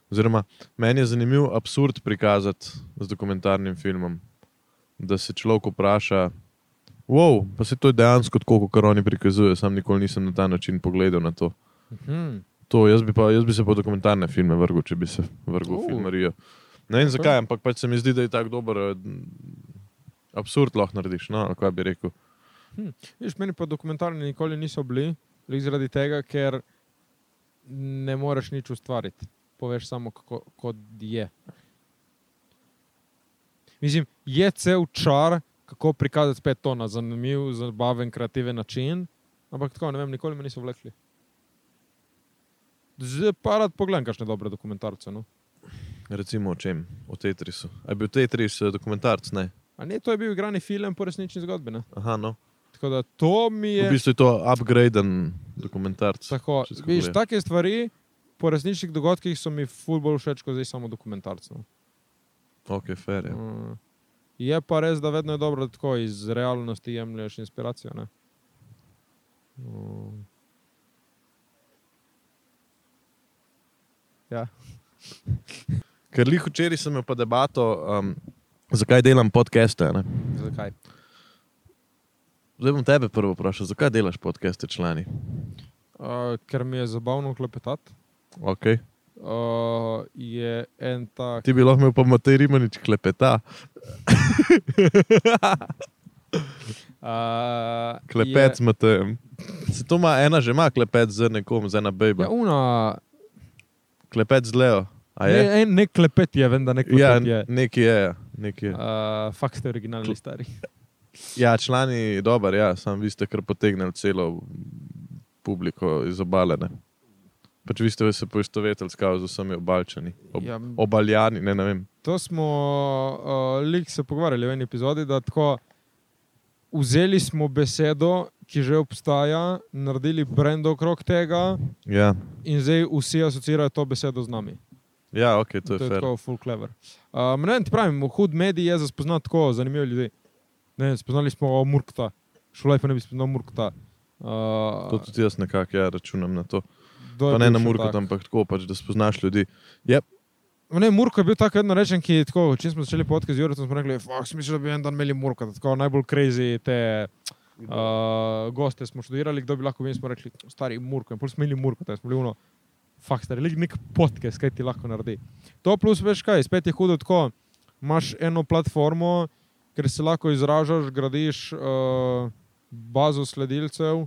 Oziroma, meni je zanimiv absurd prikazati z dokumentarnim filmom, da se človek vpraša, wow, pa se to je dejansko tako, kot oni prikazujejo, sam nikoli nisem na ta način pogledal na to.
Hmm.
To, jaz bi, pa, jaz bi se pa v dokumentarne filme vrgel, če bi se vrgel
Uh.
v filmarijo. Ne vem zakaj, ampak pač se mi zdi, da je tako dober eh, absurd lahko narediš. No, ali kaj bi rekel.
Viš, meni pa dokumentarni nikoli niso bili, glih zaradi tega, ker ne moreš nič ustvariti. Poveš samo, kako, kot je. Mislim, je cel čar, kako prikazati spet to na zanimiv, zabaven, kreativen način, ampak tako ne vem, nikoli me niso vlekli. Zdaj pa rad pogledam, kakšne dobre dokumentarce. No.
Recimo o čem? O Tetrisu. A je bil Tetris eh, dokumentarc? Ne.
A ne, to je bil igrani film po resnični zgodbi. Ne?
Aha, no.
Tako da to mi je.
V bistvu je to upgraden dokumentarc.
Tako,
če tako
viš,
gledam.
take stvari po resničnih dogodkih so mi fulbol všeč, kot zdaj samo dokumentarce. no.
Ok, fair ja. je.
Mm. Je pa res, da vedno je dobro, da tako iz realnosti jemlješ inspiracijo. Ne? Mm.
Ker lih včeraj sem imel pa debato, um, zakaj delam podcaste. a Ne?
Zakaj?
Zdaj bom tebe prvo vprašal, zakaj delaš podcaste člani?
Uh, ker mi je zabavno klepetati
Okay.
Uh, je en tak.
Ti bi lahko imel pa Matej Rimanič klepeta,
Uh,
klepet je. s Matejem. Se to ima ena že ima klepet z nekom, z ena
Je, ja,
bejba.
una,
Klepet z Leo. A je?
ne, en, nek klepet je, vem, da nek klepet
Ja,
je.
neki je. ja, Neki je.
Uh, fakt ste originalni stari.
Ja, člani je dober, ja, sam vi ste kar potegnili celo publiko iz obale. Ne? Pač vi ste se poistovetili s kao z vsemi obalčani. Ob,
Ja,
Obaljani, ne, ne vem.
to smo uh, lik se pogovarjali v eni epizodi, da tako vzeli smo besedo, ki že obstaja, naredili brend okrog tega
Ja,
in zdaj vsi asocirajo to besedo z nami.
ja ok, to
To
je,
je
fair.
tako full clever. Um, ne, vem, ti pravim, hud medij je za spoznati tako zanimive ljudi. Ne, vem, spoznali smo Murkta, šlo pa ne bi spoznal Murkta. Uh,
To tudi jaz nekako ja, računam na to.
to je
Pa ne
bil
na
še
Murku,
tak.
ampak tako, pač, da spoznaš ljudi.
Ne, Murko je bil tako vedno rečen, ki je tako, če smo začeli podcast z Jurjem, smo rekli, fuck, si mislil, da bi en dan imeli Murko, da tako najbolj crazy te uh, goste smo študirali, kdo bi lahko bil, in smo rekli, stari Murko, in pol smo imeli Murko, tam smo bili uno, fuck, stari, lik nek podcast, kaj ti lahko naredi. To plus veš kaj, spet je hudo tako, imaš eno platformo, ker se lahko izražaš, gradiš uh, bazo sledilcev.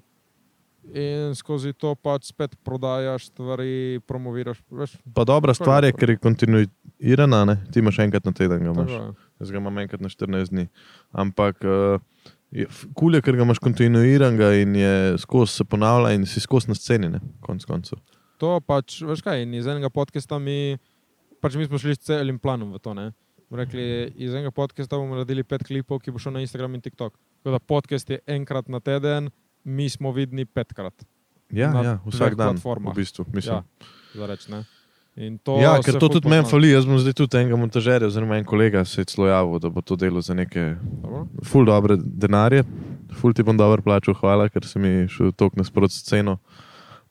In skozi to pač spet prodajaš stvari, promoviraš. Veš,
Pa dobra
Tako je,
stvar je,
tako je.
ker je kontinuirana, ne? ti imaš enkrat na teden, ga imaš.
tako je.
Jaz ga imam enkrat na 14 dni. Ampak uh, kul je, ker ga imaš kontinuiranega in je skozi se ponavlja in si skozi na sceni, ne? konc koncev.
To pač, veš kaj, in iz enega podcasta mi, pač mi smo šli s celim planom v to. Ne? Smo Rekli, iz enega podcasta bomo naredili pet klipov, ki bo šel na Instagram in TikTok. Tako da podcast je enkrat na teden, mi smo vidni petkrat.
Ja,
Na
ja
dveh
vsak dan,
platformah.
v bistvu.
Ja,
Mislim.
zareč, ne. In
Ja,
to
ja,
se
ker to
ful
tudi meni
pozna.
fali. Jaz bom zdaj tudi enega montažerja, oziroma en kolega se je celo javil, da bo to delo za neke
Dobro.
ful dobre denarje. Ful ti bom dobro plačal, hvala, ker si mi šel tako nasprotno s ceno.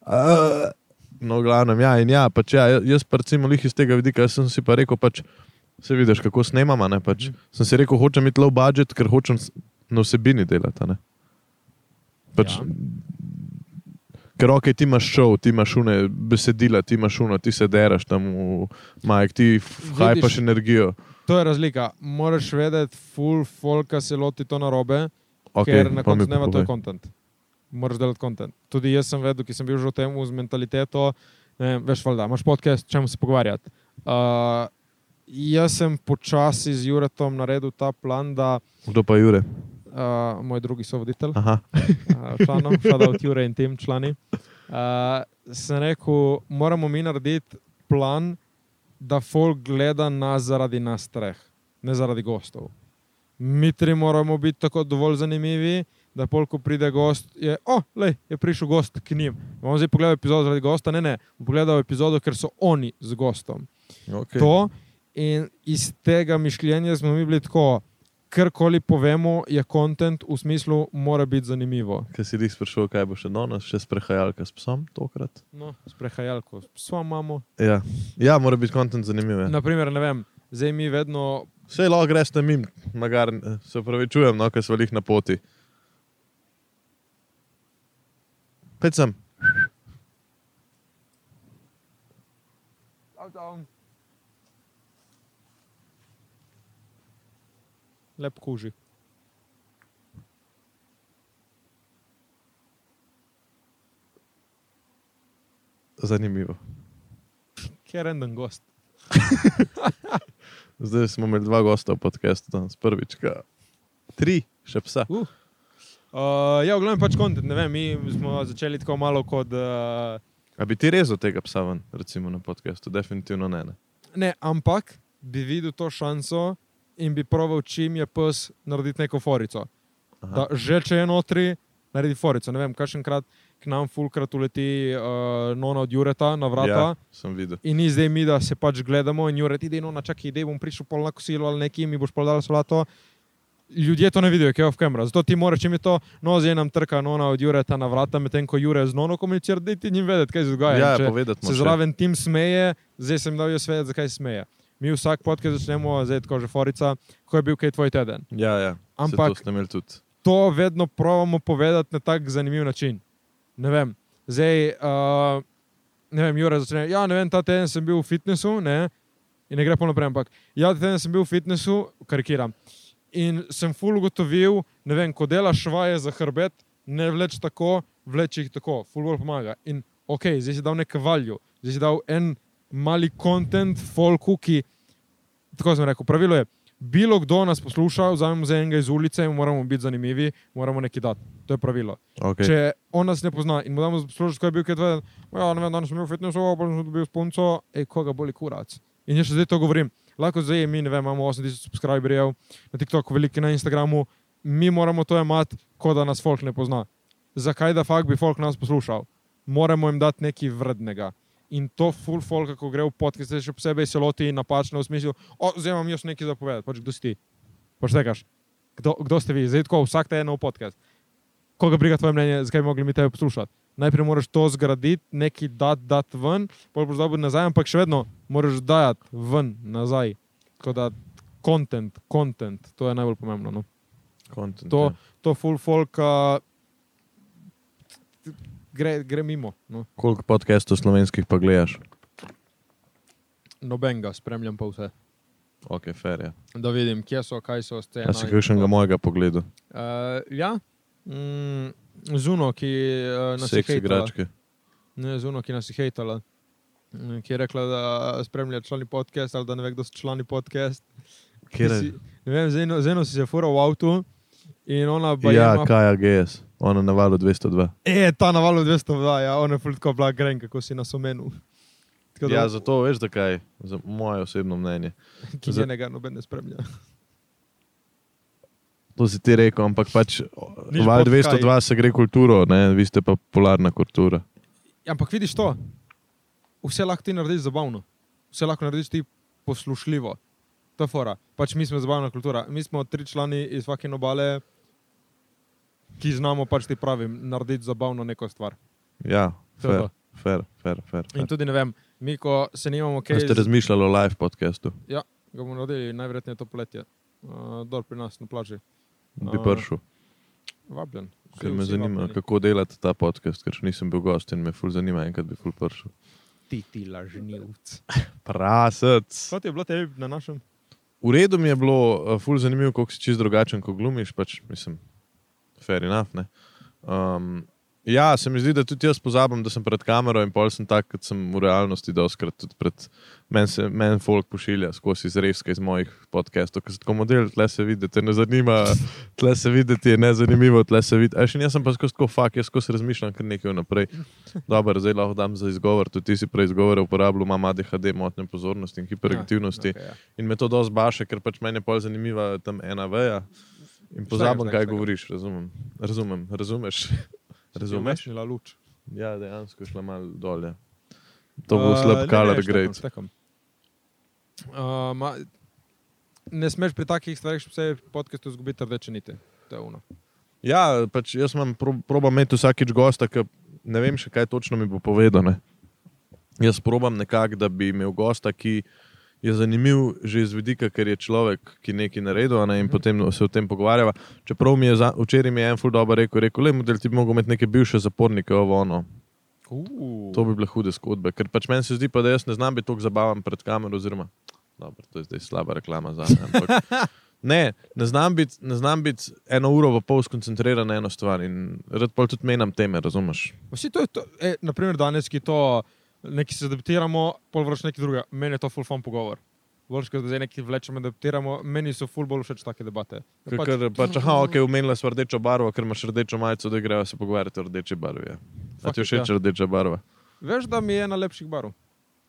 Uh, no, v glavnem, ja, in ja, pač ja, jaz pa recimo lih iz tega vidika, jaz sem si pa rekel, pač se vidiš, kako snemamo, ne pač.
Mhm.
Sem si rekel, hočem iti low budget, ker hočem s- na vsebini delati, a ne.
Ja.
Pač, ja. Ker ok, ti imaš šov, ti imaš une besedila, ti imaš uno, ti se deraš tam v majk, ti f-
Vidiš-
hajpaš energijo.
To je razlika. Moraš vedeti, full folka se loti to narobe, okay,
Okay,
ker na
pa mi
koncu dneva to je
povej.
kontent. Moraš delati kontent. Tudi jaz sem vedel, ki sem bil že v tem z mentaliteto, ne, vem, veš, valjda, imaš podcast, čemu se pogovarjati. Uh, jaz sem počasi z Juretom naredil ta plan, da
Kdo pa Jure?
uh, moj drugi sovoditelj,
Aha.
uh, članov, šada od Jure in tem člani, uh, sem rekel, moramo mi narediti plan, da folk gleda nas zaradi nas treh, ne zaradi gostov. Mi tri moramo biti tako dovolj zanimivi, da pol, ko pride gost, je, oh, lej, je prišel gost k njim. Bom zdaj pogledal epizodo zaradi gosta, ne, ne, bom pogledal epizodo, ker so oni z gostom
Okay.
to. In iz tega mišljenja smo mi bili tako, karkoli povemo, je kontent v smislu, mora biti zanimivo.
Ker si jih sprašoval, kaj bo še danes, še sprehajalka s psom tokrat.
No, sprehajalko, svojo mamo.
Ja, ja mora biti kontent zanimiv. Ja.
Naprimer, ne vem, zdaj mi vedno.
Vse lahko greš na mim, magar, eh, se upravičujem, no, ker so velih na poti. Pet sem.
Lep kuži.
Zanimivo.
Ker je en gost.
Zdaj smo imeli dva gosta v podkastu danes, prvič. Ka. Tri, še psa.
Uh, ja, glavno pač kontent, ne vem, mi smo začeli tako malo kot. Uh,
A bi ti rezal tega psa ven, recimo na podkastu? Definitivno ne. ne.
ne, ampak bi videl to šanso in bi proval, čim je pes narediti neko forico.
Aha.
Da, že če je notri, naredi forico. Ne vem, kakšenkrat k nam fulkrat uleti uh, nona od Jureta na vrata.
Ja, sem videl.
In ni zdaj mi, da se pač gledamo in Juret ide, no, na čakaj, idej, bom prišel pol na kosilo ali nekaj, mi boš pol dal solato. Ljudje to ne vidijo, ki je off camera. Zato ti moraš, če mi to, no, zdaj nam trka nona od Jureta na vrata, medtem ko Jure z nono komunicira, da ti njim vedeti, kaj se dogaja.
Ja,
In če-
povedati
se
moraš.
zraven tim smeje, zdaj sem dal jaz vedeti, zakaj se smeje. Mi vsak podcast začnemo, zdaj je tako že forica, ko je bil kaj tvoj teden.
Ja, ja. Ampak...
Ampak-
To ste imeli tudi.
To vedno pravimo povedati na tak zanimiv način. eh, Ne vem, zdaj, uh, ne ne vem, Jure začne. Ja, ne vem, ta teden sem bil v fitnessu, ne, in ne gre polno prej, ampak ja, ta teden sem bil v fitnessu, karikiram. In sem ful ugotovil, ne vem, ko delaš vaje za hrbet, ne vleč tako, vleč jih tako, ful bolj pomaga. In ok, zdaj si dal nek valju, zdaj si dal en mali kontent, folku, ki, tako sem rekel, pravilo je, bilo kdo nas posluša, vzamemo za enega iz ulice in moramo biti zanimivi, moramo nekaj dati. To je pravilo. Okay.
Okay.
Če on nas ne pozna in mu damo poslušati, kaj je bil, kaj je tvoj, ja, ne vem, danes sem imel fitness, pa sem dobil sponco, ej, koga boli kurac. In jaz še zdaj to govorim. Lahko zdaj mi, ne vem, imamo 8000 subscriberjev na TikToku, veliki na Instagramu, mi moramo to imati, kot da nas folk ne pozna. Zakaj da fakt bi folk nas poslušal? Moramo jim dati nekaj vrednega. In to full folk, ko gre v podcast, še posebej se loti napačno v smislu, o, zdaj imam jaz nekaj zapovedati, pač kdo si ti? Pač tekaš. Kdo, kdo ste vi? Zdaj tako, vsak te je nov podcast koga briga tvoje mnenje, zakaj bi mogli mi tebe poslušati. Najprej moraš to zgraditi, neki dati dat ven, pol boš dobil nazaj, ampak še vedno moraš dajati ven nazaj. Tako da kontent, kontent, to je najbolj pomembno. No.
Content,
To,
ja.
to full folk uh, gre, gre mimo. No.
Koliko podcastov slovenskih pa gledaš?
Nobenega, spremljam pa vse.
Ok, fair ja. je.
Da vidim, kje so, kaj so scene.
Jaz sem Ja, kakšnega mojega pogledal.
Uh, ja, mm, zuno, ki uh, nas je
Seks igračke.
ne, zuno, ki nas je hejtala, mm, ki je rekla, da spremlja člani podcast ali da ne ve, kdo so člani podcast. Ti
Kjer
si-
je?
Ne vem, z eno- z eno si se fural v avtu in ona pa je.
Ja, Kaja GS. Ona na valu 202.
E, ta naval 202, ja, ona je fultko bila gren, kako si nas omenil. Tako da,
Ja, zato veš, zakaj. Za moje osebno mnenje.
ki
za-
njenega noben ne spremlja.
To si ti rekel, ampak pač
Nič
val
pod
202 se gre kulturo, ne? vi ste pa polarna kultura.
Ja, ampak vidiš to, vse lahko ti narediš zabavno, vse lahko narediš ti poslušljivo. To je fora. Pač mi smo zabavna kultura. Mi smo tri člani iz vsake obale, ki znamo pač ti pravim, narediti zabavno neko stvar.
Ja,
To je
fair,
to.
fair, fair. fair,
In
fair.
tudi ne vem, mi ko se nimamo
Kaj
kaj,
ste razmišljali o live podkastu?
ga bomo naredili najverjetneje to poletje. Uh, Dol pri nas na plaži.
Bi
A,
prišel,
Vabljen. Vsi-
ker me
vsi
zanima,
vabljeni.
kako delate ta podcast, ker še nisem bil gost in me ful zanima, enkrat bi ful prišel.
Ti, ti lažnivc.
Prasec.
Kaj ti je bilo tebi na našem?
V redu mi je bilo, eh, ful zanimivo, kako si čist drugačen, ko glumiš, pač mislim, fair enough. ne. Um, ja, se mi zdi, da tudi jaz pozabim, da sem pred kamero in pol sem tak, kot sem v realnosti, da oskrat tudi pred meni se- meni folk pošilja skozi izrezke iz mojih podcastov, ker se tako model, tle se vidi, da te ne zanima, tle se vidi, da ti je nezanimivo, tle se vidi. A še jaz sem pa skozi tako fak, jaz skozi razmišljam kar nekaj naprej. Dobro, zdaj lahko dam za izgovor, tudi ti si prej izgovore uporabljal, imam ADHD, motnje pozornosti in hiperaktivnosti.
Okay, ja.
In me to dosti baše, ker pač meni je bolj zanimiva tam ena veja. In pozabim,
Vsega,
kaj
vsega.
govoriš, razumem. Razumem, razumeš. Razumeš?
Ugasnila luč.
Ja, dejansko je šla malo dolje. To bo
Eh, ne,
slab color
ne, štekam,
grade.
štekam. Eh, ma- Ne smeš pri takih stvareh, še posebej v podkastu, izgubiti rdeče niti. To je ono.
Ja, pač jaz imam, pro, probam imeti vsakič gosta, ki ne vem še kaj točno mi bo povedal. Ne. Jaz probam nekako, da bi imel gosta, ki je zanimiv že iz vidika, ker je človek, ki nekaj naredil, a ne, in potem se o tem pogovarjava. Čeprav mi je za, včeraj mi je en ful dobro rekel, rekel le, model ti bi mogel imeti neke bivše zapornike, ovo ono. To bi bile hude zgodbe, ker pač meni se zdi, pa, da jaz ne znam biti tako zabaven pred kamero. Oziroma, dobro, to je zdaj slaba reklama za me. Ampak, ne, ne znam biti bit eno uro pa pol skoncentriran na eno stvar in rad pa tudi menjam teme, razumeš?
Vsi to je, to, e, naprimer, danes, ki to neki se adaptiramo, pol vrš nekaj drugega. Meni je to full fun pogovor. Vrš, ko zdaj neki vlečemo, adaptiramo, meni so full bolj všeč take debate.
Ker, ker pač, aha, ok, umenila si rdečo barvo, ker imaš rdečo majico, da grejo se pogovarjati o rdeči barvi. Ja. A
Fuck
ti je
it,
všeč
ja.
rdeča barva?
Veš, da mi je ena lepših barov,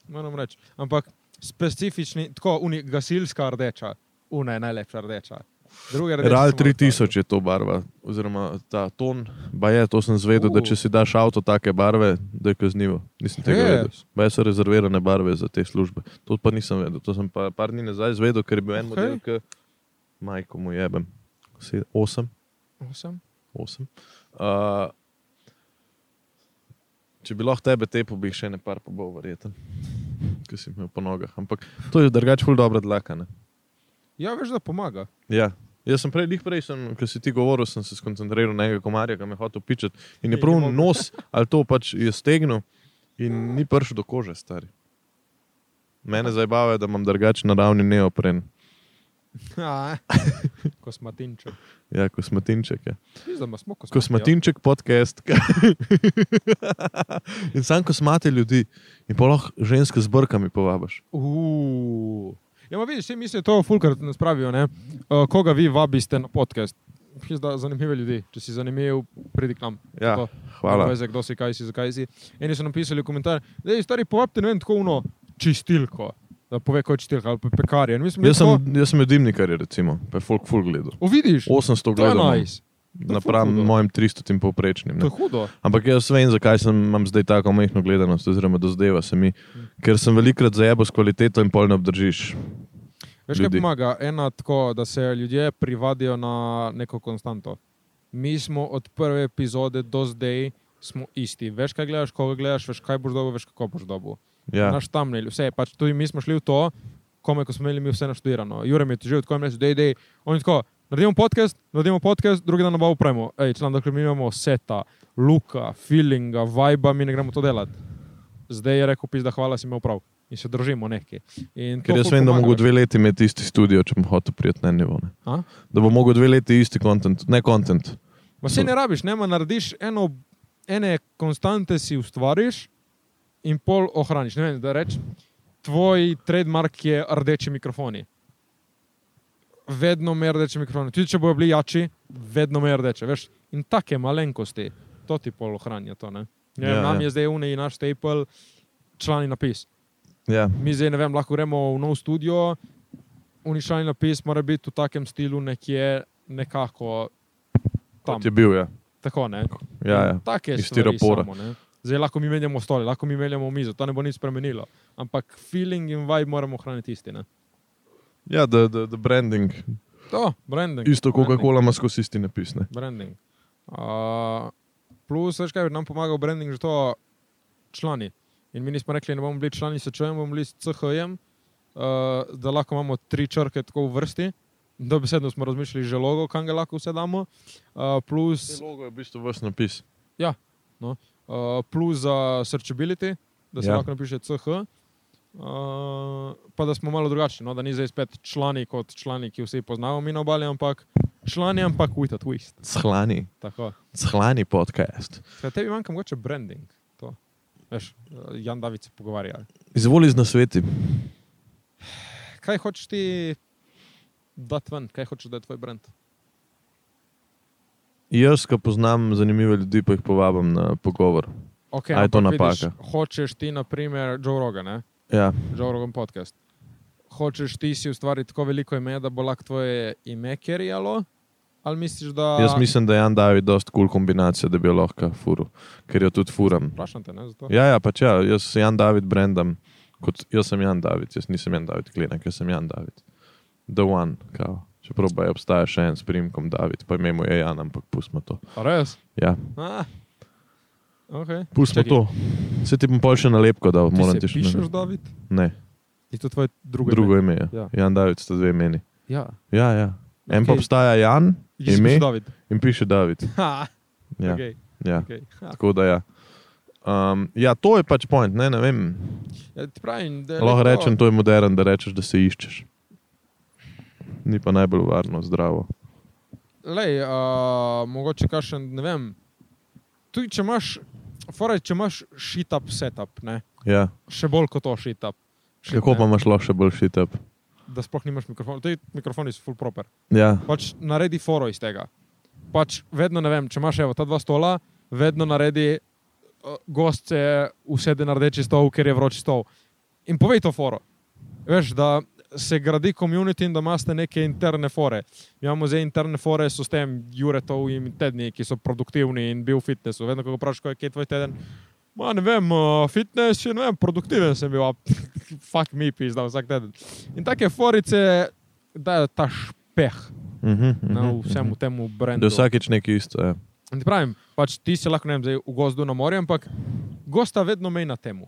moram reči. Ampak specifični, tako uni, gasilska rdeča, una je najlepša rdeča. Druge rdeče
Real
so malo
3000 je to barva, oziroma ta ton, ba je, to sem zvedel, uh. da
Uh.
če si daš avto take barve, da je kaznivo. Nisem tega
Res?
vedel. Ba so rezervirane barve za te službe. To pa nisem vedel, to sem pa par dni nazaj zvedel, ker je bil
Okej.
en model, ki majko mu jebem. 8,
Osem?
8. Uh, Če bi lahko tebe tepel, bi jih še ne par pobol, verjeten, ki si imel po nogah. Ampak to je drugače ful dobro dlakane.
Ja, veš, da pomaga.
Ja. Jaz sem prej, lih prej, sem, ko si ti govoril, sem se skoncentriral na enega komarja, ki me je hotel pičati. In je
Ni
prav
mogel.
nos ali to pač je stegnil In ni prišel do kože, stari. Mene zabava, da imam drugačen naravni neopren,
Kosmatinček.
ja, kosmatinček. Ja.
Mislim, da smo kosmatinček.
Kosmatinček
Ja.
podcast. in sam kosmate ljudi, in pa lahko ženske z brkami povabiš.
Uuu. Ja, ma vidiš, vsi mislijo, to fulkrat nas pravijo, ne? Uh, koga vi vabiste na podcast? Mislim, da Zanimive ljudi, če si zanimiv, pridi k nam.
Ja,
Tako.
hvala.
Veze, kdo si, kaj si, zakaj si. Eni so napisali v komentar, da je stari povabite, ne vem, tako uno čistilko, da pove, kaj je čistilka ali pa pekarje. In mi smo bili
Jaz sem,
tako,
jaz sem jo dimnikarje, recimo, pa je folk full gledal.
O, vidiš,
800
to je
gledal. no. imam,
najs. ful
Napram
hudo.
mojim 300 povprečnim.
To
ne.
je hudo.
Ampak jaz vem, zakaj sem, imam zdaj tako majhno gledanost, oziroma dozdeva se mi, ker sem velikrat zajabo s kvaliteto in pol ne obdržiš.
Veš, kaj
ljudi.
pomaga? Ena tako, da se ljudje privadijo na neko konstanto. Mi smo od prve epizode do zdaj smo isti. Veš, kaj gledaš, koga gledaš, veš, kaj boš dobil, veš, kako boš dobil. Ja.
Ja.
Naš thumbnail, vse je pač tudi mi smo šli v to, kome ko smo imeli mi vse naštudirano. Jure mi je težil, tako jim reče, dej, dej. On je tako, naredimo podcast, naredimo podcast, drugi dan nabavo upremo. Ej, član, dokler mi imamo seta, luka, feelinga, vibra, mi ne gremo to delati. Zdaj je rekel, pizda, hvala, si imel prav. In se držimo neki.
Ker jaz vem, da mogo dve leti imeti isti studio, če bom hotel priti na en nivo. Ne.
A?
Da bom mogel dve leti isti kontent, ne kontent.
Ma se ne rabiš, ne, ma narediš eno, ene konstante si ustvariš in pol ohraniš. Ne vem, da rečeš, tvoj trademark je rdeči mikrofoni. Vedno me rdeče mikrofoni. Tudi če bojo bili jači, vedno me rdeče. Veš? In take malenkosti, to ti pol ohranja. To, ne? Ne vem,
Ja,
ja, nam ja.
ja.
je zdaj unaj naš staple, člani napis.
Ja.
Mi zdaj ne vem, lahko gremo v nov studio, uničajni napis mora biti v takem stilu nekje nekako tam.
Kot je bil, ja.
Tako, ne?
ja, ja.
Take
Iz
stvari
stiropora.
samo, ne. Zdaj lahko mi menjamo stole, lahko mi menjamo mizo, to ne bo nič spremenilo. Ampak feeling in vibe moramo ohraniti isti. Ne?
ja da, da, da branding.
To, branding.
Isto
branding,
Coca-Cola ima skozi isti napis. Ne.
Branding. Uh, plus, veš kaj, nam pomaga v branding že to člani. In mi nismo rekli, ne bomo bili člani SČM, bomo bili s CHM, uh, da lahko imamo tri črke tako v vrsti. Dobesedno smo razmišljali že logo, kam ga lahko vse damo. Uh, plus,
Logo je v bistvu vrst napis.
Uh, plus za searchability, da se
Ja.
ja. lahko napiše CH. Uh, pa da smo malo drugačni, no? da ni zdaj spet člani kot člani, ki vsi poznamo, mi na obali, ampak člani, ampak with a twist.
Shlani,
Tako.
shlani podcast.
Skratka, Tebi manjka mogoče branding. to. Veš, uh, Jan David se pogovarja.
Izvoli z nasveti.
Kaj hočeš ti dati ven, kaj hočeš, da je tvoj brand?
Jaz, ki poznam zanimive ljudi, pa jih povabim na pogovor.
Okay,
A je to
ampak vidiš,
napaka?
Hočeš ti, na primer, Joe Rogan, ne?
Ja.
Joe Rogan podcast. Hočeš ti si ustvariti tako veliko ime, da bo lahko tvoje ime kerijalo? Ali misliš, da.
Jaz mislim, da je Jan David dost kul cool kombinacija, da bi jo lahko furu, ker jo tudi furam.
Vprašam te, ne? Zato.
Ja, ja, pač ja, jaz sem Jan David brendam, kot jaz sem Jan David, jaz nisem Jan David Klinek, jaz sem Jan David. The one, kao. Čeprav pa je obstaja še en s primkom David, pa ime mu je Jan, ampak pustimo to.
A Res?
Ja,
Ah. Okay.
pustimo
Čakaj,
to. Se ti bom pol še nalepko dal,
Ti
moram
se
ti še
pišeš, David?
Ne,
Je to tvoje drugo,
drugo
ime?
ime je. Ja.
Ja.
Jan David sta dve imeni.
Ja.
Ja, ja. En pa
Okej.
obstaja Jan
Jaz
Ime?
sem David.
in piše David.
Ha,
Ja,
okay,
ja.
okay. Ha.
Tako da ja. Um, ja, to je pač point, ne, ne vem.
Ja, ti pravim, da je
Lahko
lepo.
rečem, to je moderen, da rečeš, da se iščeš. Ni pa najbolj varno, zdravo.
Lej, a, mogoče kašen, ne vem. Tudi če imaš, foraj, če imaš shit-up setup, ne?
Ja.
še bolj kot to shit-up. Shit,
Kako
ne?
pa imaš lahko še bolj šitep?
Da sploh nimaš mikrofona, ti mikrofoni so full proper.
Ja.
pač naredi foro iz tega. Pač vedno ne vem, če imaš evo, ta dva stola, vedno naredi uh, gost se usede na rdeči stol, ker je vroč stol. In povej to foro. Veš, da se gradi komunit in da imaš neke interne fore. Mi imamo zdaj interne fore, so s tem Juretov in tedni, ki so produktivni in bil v fitnessu. Vedno, ko ga vprašaš, kaj je tvoj teden. Ma, ne vem, uh, fitness, je, ne vem, produktiven sem bil, a fuck mi, pizda vsak teden. In take forice dajo ta špeh
Mhm,
na
mhm,
vsemu temu
mhm. Da
brendu.
je vsakič nekaj isto. Ja.
In ti Pravim, pač ti si lahko ne vem, zdaj v gozdu na morju, ampak gosta vedno mej na temu.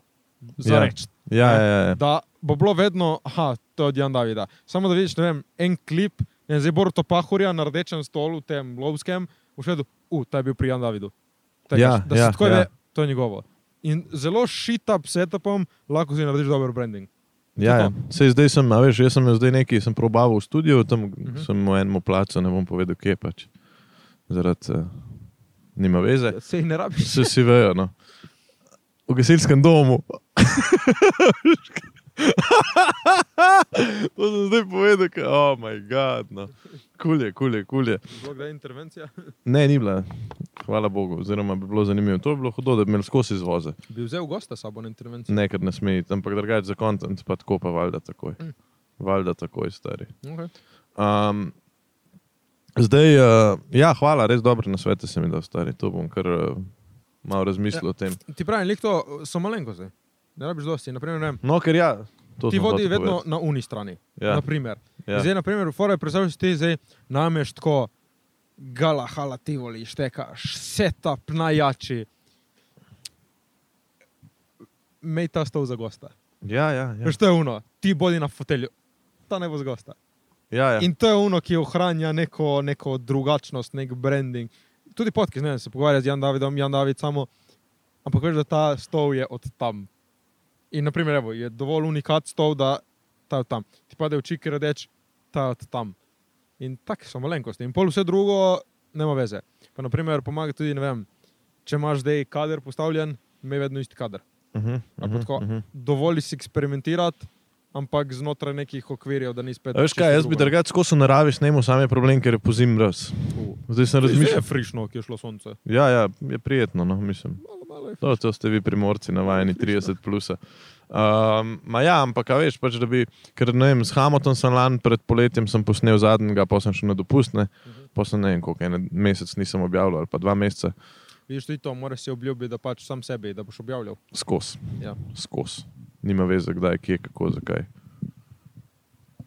Za
Ja.
reči.
Ja, ja, ja, ja.
Da bo bilo vedno, aha, to je od Jan Davida. Samo da vidiš, ne vem, en klip, ne vem, zdaj Boruto Pahorja na rdečem stolu, tem lovskem, v šedu, u, ta je bil pri Jan Davidu. Tega,
Ja,
da se
ja,
tako
ja.
ve, to je njegovo. in zelo šitap setupom lahko si narediš dober branding.
Ja, ja.
to.
Sej zdaj sem, a veš, jaz sem jo zdaj neki, sem probaval v studiu, tam
Mhm.
sem v enem placu, ne bom povedal, kje pač. Zaradi uh, nima veze.
Se jih ne rabiš.
Vse si vejo. No. V gasilskem domu. to sem zdaj povedal, ker, oh moj bog, no. kulje, kulje, kulje.
Zelo gre intervencija.
Ne, ni bila. Hvala Bogu, oziroma bi bilo zanimivo. To je bilo hudo, da bi imeli skozi izvoze.
Bi vzel gosta s sabo na intervencijo.
Nekaj ne smeji, ampak drugače za kontent, pa tako pa valjda takoj.
Mm.
Valjda takoj, stari.
Okay.
Um, zdaj, uh, ja, hvala, res dobre nasvete si mi dal, stari. To bom kar uh, malo razmislil ja. o tem.
Ti pravi, lihto eh, so malenkosti. Ne rabiš dosti. Naprimer, ne, vem,
No, ker ja, to
ti
sem
vodi
hotel
vedno
povedati.
na uni strani.
Ja.
Naprimer.
Ja.
Zdaj, naprimer, fora, predstavljaj si ti zdaj nameš tako gala, hala, tivoli, štekaš, setup najjači. Mej ta stol za gosta.
Ja, ja,
Ja.
ja.
Veš, to je uno, ti bodi na fotelju, ta ne bo z gosta.
ja, ja.
Ja. In to je uno, ki ohranja neko, neko drugačnost, nek branding. Tudi podcast, ne vem, se pogovarja z Jan Davidom, Jan David samo, ampak veš, da ta stol je od tam. In naprimer, evo, je dovolj unikat stol, da ta je od tam. Ti pade oči, ker reč, ta je od tam. In take so malenkosti. In pol vse drugo, nema veze. Pa naprimer, pomaga tudi, ne vem, če imaš zdaj kader postavljen, me vedno isti kader.
Uh -huh,
Ali pa tako.
-huh.
Dovolj si eksperimentirati, ampak znotraj nekih okvirjev, da nisi spet.
A veš kaj, jaz bi
no.
drugače skozi naravi snemal, sam je problem, ker je pozim raz.
rekel.
Zdaj
Razmišljaj,
sem razmišljal.
je frišno, ki je šlo sonce.
Ja, ja, je prijetno, no, mislim.
Malo, malo je.
To, to ste vi, primorci, navajeni 30. Plus. Um, ma ja, ampak a veš, pač, da bi, ker ne vem, s Hamotom sem lani pred poletjem sem posnel zadnjega, pa sem še na dopust, ne,
Mhm.
pa sem ne vem, koliko en mesec nisem objavljal, ali pa dva meseca
Vidiš tudi to, moraš si obljubiti, da pač sam sebi, da boš objavljal.
skozi.
Ja.
Skoz. Nima veze, kdaj, kje, kako, zakaj.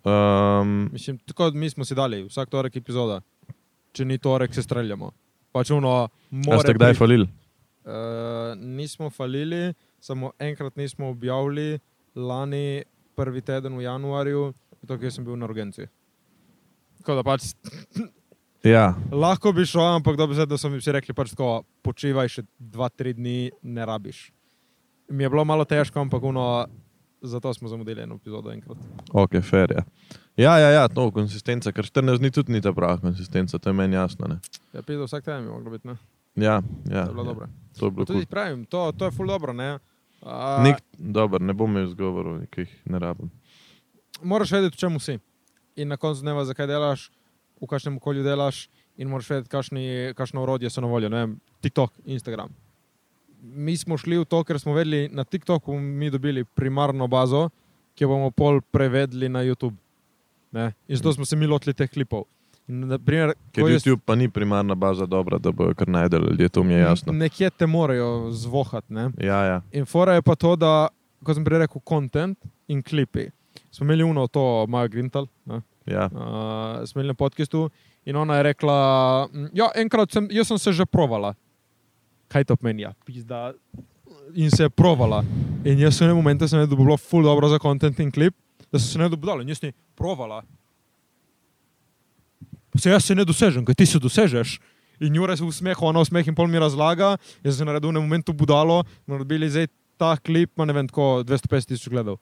Um,
Mislim, tako mi smo si dali, vsak torek epizoda. Če ni torek, se streljamo. Pač uno,
a ste
morate.
kdaj falili?
Uh, nismo falili, samo enkrat nismo objavili, lani prvi teden v januarju, zato ker sem bil na urgenci. Tako da pač
Ja,
lahko bi šel, ampak dobro, zdaj, da so mi vsi rekli, pač tako, počivaj še dva, tri dni, ne rabiš. Mi je bilo malo težko, ampak uno, zato smo zamudili eno epizodo enkrat.
ok, fer je. Ja, ja, ja, to konsistenca, ker 14 dni tudi ni ta prava konsistenca, to je meni jasno. Ne?
Ja, pizdo vsak teden je moglo biti, ne?
Ja, ja,
To je bilo
ja,
dobro.
to je bilo
Tudi
kul.
pravim, to, to je ful dobro, ne? A,
Nek, dober, ne bom imel izgovorov, ki jih ne rabim.
Moraš vedeti, v čemu si. In na koncu dneva, zakaj delaš, v kakšnem okolju delaš, in moraš vedeti, kakšni- kakšno orodje so na voljo. Ne vem, TikTok, Instagram. Mi smo šli v to, ker smo vedeli, na TikToku bomo mi dobili primarno bazo, ki jo bomo pol prevedli na YouTube. Ne? In zato smo se mi lotili teh klipov. In Naprimer,
Mhm. Ker
ko jaz-
YouTube pa ni primarna baza dobra, da bojo kar najdel ljudje, to mi je jasno.
Nekje te morajo zvohati. Ne?
Ja, ja.
In fora je pa to, da, kot sem prej rekel, kontent in klipi. Smo imeli uno, to Maja Grintal, ne?
ja.
uh, smo imeli na podkastu in ona je rekla, "Mm, ja, enkrat sem, jaz sem se že provala. Kaj to pomeni? Ja, pizda. In se je provala. In jaz sem v momentu, sem vedel, da bo bilo ful dobro za kontent in klip, da sem se ne dobudala in jaz ni provala. Se jaz se ne dosežem, kaj ti se dosežeš. In Jure se usmeha, ona usmeh in pol mi razlaga, jaz sem naredil v enem momentu budalo, naredili zdaj ta klip, ima ne vem, tako 250 tisoč gledal.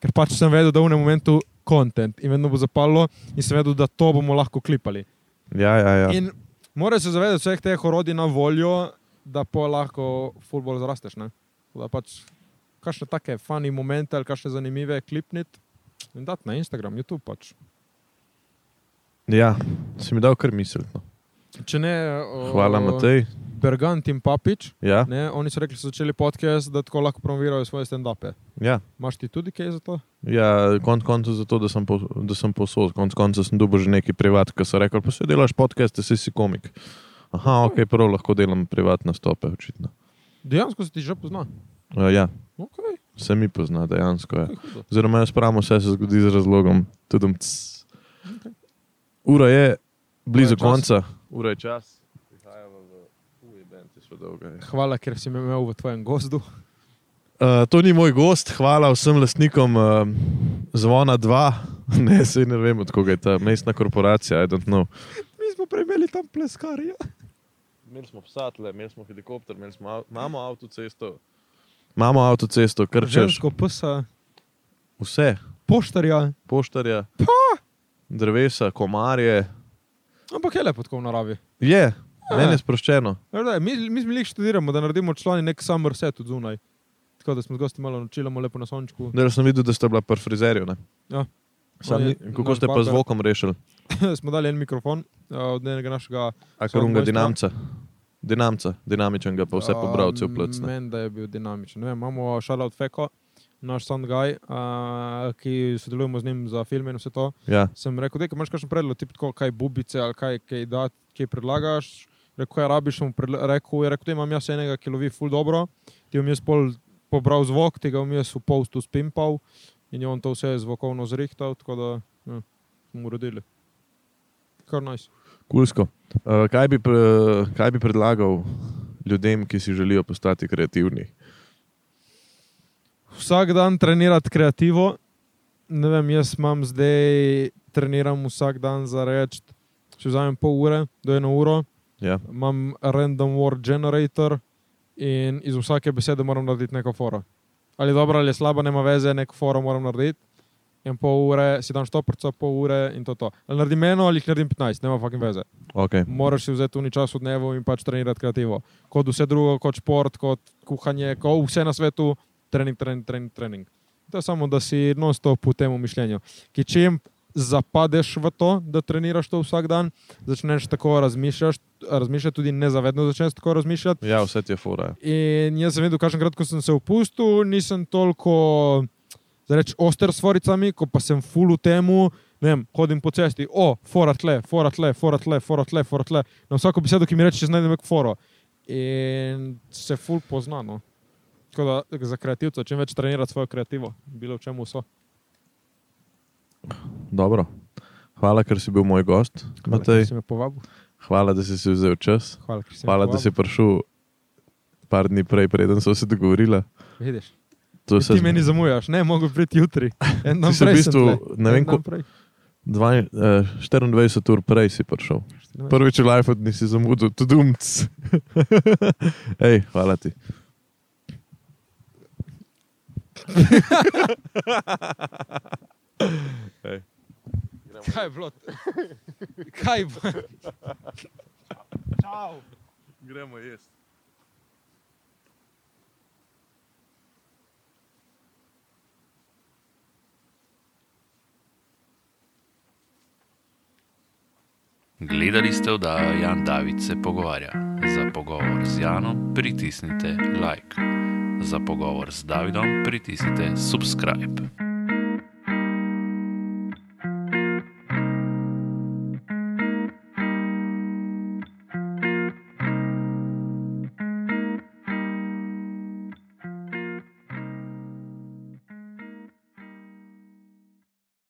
Ker pač sem vedel, da v enem momentu kontent in vedno bo zapalo in sem vedel, da to bomo lahko klipali.
Ja, ja, ja.
In moraš se zavedati vseh teh orodij na voljo, da pa lahko futbol zrasteš. Ne? Tako Da pač kakšne take fani momente ali kakšne zanimive klipniti in dati na Instagram, YouTube pač.
ja. Si mi dal kar misel. No.
Če ne, o,
Hvala, Matej.
Bergant in Papič,
Ja,
ne, oni so rekli, da so začeli podcast, da tako lahko promovirajo svoje stand-upe.
ja.
Imaš ti tudi kaj za to?
ja konc koncev zato, da sem, po, da sem posod. Konc koncev sem dobil že neki privat, ki so rekli, pa se delaš podcaste, si si komik. Aha, ok, prav lahko delam privatne stope, očitno.
Dejansko se ti že pozna.
Uh, ja,
Okay,
se mi pozna dejansko. Ja.
to je hudo.
Oziroma, jaz pravim, vse se zgodi z razlogom. Tudum, ts. Ura je
Ura
blizu
je čas.
konca, ura je čas. Prihajava v- Uj, ben, ti so dolga, je.
Hvala, ker si me imel v tvojem gozdu.
Uh, to ni moj gost, hvala vsem lastnikom uh, Zvona 2, ne, sej ne vem, od koga je ta mestna korporacija, I don't know.
Mi smo prej imeli tam pleskarje.
Imeli smo psatle, imeli smo helikopter, imeli smo av mamo avtocesto, Imamo avtocesto, krčeš,
Žensko psa,
vse,
poštarja.
poštarja, drevesa, komarje.
Ampak je lepo tako v naravi.
Je, Ja, meni je sproščeno.
Veš, da, mi, mi mi jih študiramo, da naredimo člani nek summer set od zunaj. Tako da smo z gosti malo naučili, lepo na sončku.
Da sem videl, da ste bila pri frizerju. ne.
Ja.
Sam,
On je
ni- kako
naš
ste pa
barber.
z zvokom rešili?
smo dali en mikrofon uh, od enega našega.
A
Samo
karunga
dvajset, ja.
dinamca. Dinamičen ga, dinamičen ga pa vse pobral, cel plec. ne.
Meni, eh, da je bil dinamičen. Ne Vem, imamo Šarlotte Feko, naš sound guy, uh, ki sodelujemo z njim za filme in vse to.
Ja.
Sem rekel, da imaš kakšen predlog, tip, tako, kaj bubice ali kaj, kaj, da, kaj predlagaš. Rekel, "Ja, kaj rabiš, sem rekel, je rekel, da imam jaz enega, ki lovi ful dobro, ti bom jaz pol pobral zvok, tega bom jaz v postu spimpal in je on to vse zvokovno zrihtal, tako da ja, smo uredili. Kar najs. Nice.
Kulsko. Uh, kaj, bi pre, kaj bi predlagal ljudem, ki si želijo postati kreativni?
Vsak dan trenirati kreativo, ne vem, jaz imam zdaj, treniram vsak dan za reč, če vzamem pol ure do eno uro,
Ja.
imam random word generator in iz vsake besede moram narediti neko foro. Ali je dobra ali je slaba, nema veze, neko foro moram narediti. In pol ure si dam štoprco, pol ure in to. to. Ali naredim eno ali jih naredim 15, nema fucking veze.
Okay.
Moraš si vzeti uni čas v dnevu in pač trenirati kreativo. Kot vse drugo, kot šport, kot kuhanje, kot vse na svetu, trening, trening, trening. trening. To je samo, da si non-stop v tem mišljenju. Ki čim zapadeš v to, da treniraš to vsak dan, začneš tako razmišljati, razmišljati tudi nezavedno začneš tako razmišljati.
ja, vse ti je fora.
In jaz sem videl, kažem krat, ko sem se opustil, nisem toliko zdaj reč, oster s foricami, ko pa sem full v temu. ne Vem, hodim po cesti, o, fora tle, fora tle, fora tle, fora tle, fora tle. Na vsako besedo, ki mi reče, znajdem nek foro. In se full poznano. Tako da za kreativca, čim več trenirati svojo kreativo, bilo v čemu so.
Dobro. Hvala, ker si bil moj gost. Hvala, Matej.
Ker si me povabil.
Hvala da si si vzel čas.
Hvala, ker si me
Hvala, da si
povabil.
prišel par dni prej, preden so se dogovorila.
Vidiš,
To se
ti meni zamujaš, ne, mogo priti jutri. En dan
Ti si v
prej sem
bistvu,
tule.
ne
En
vem,
dan
ko-
prej.
dva, eh, 24 ur prej si prišel. Prvič v Life nisi zamudil, tudi umc. Ej, hvala ti.
Kaj je bilo? Kaj je bilo?
Gremo jesti.
Gledali ste oddajo Jan David se pogovarja. Za pogovor z Janom pritisnite like. Za pogovor z Davidom pritisnite subscribe.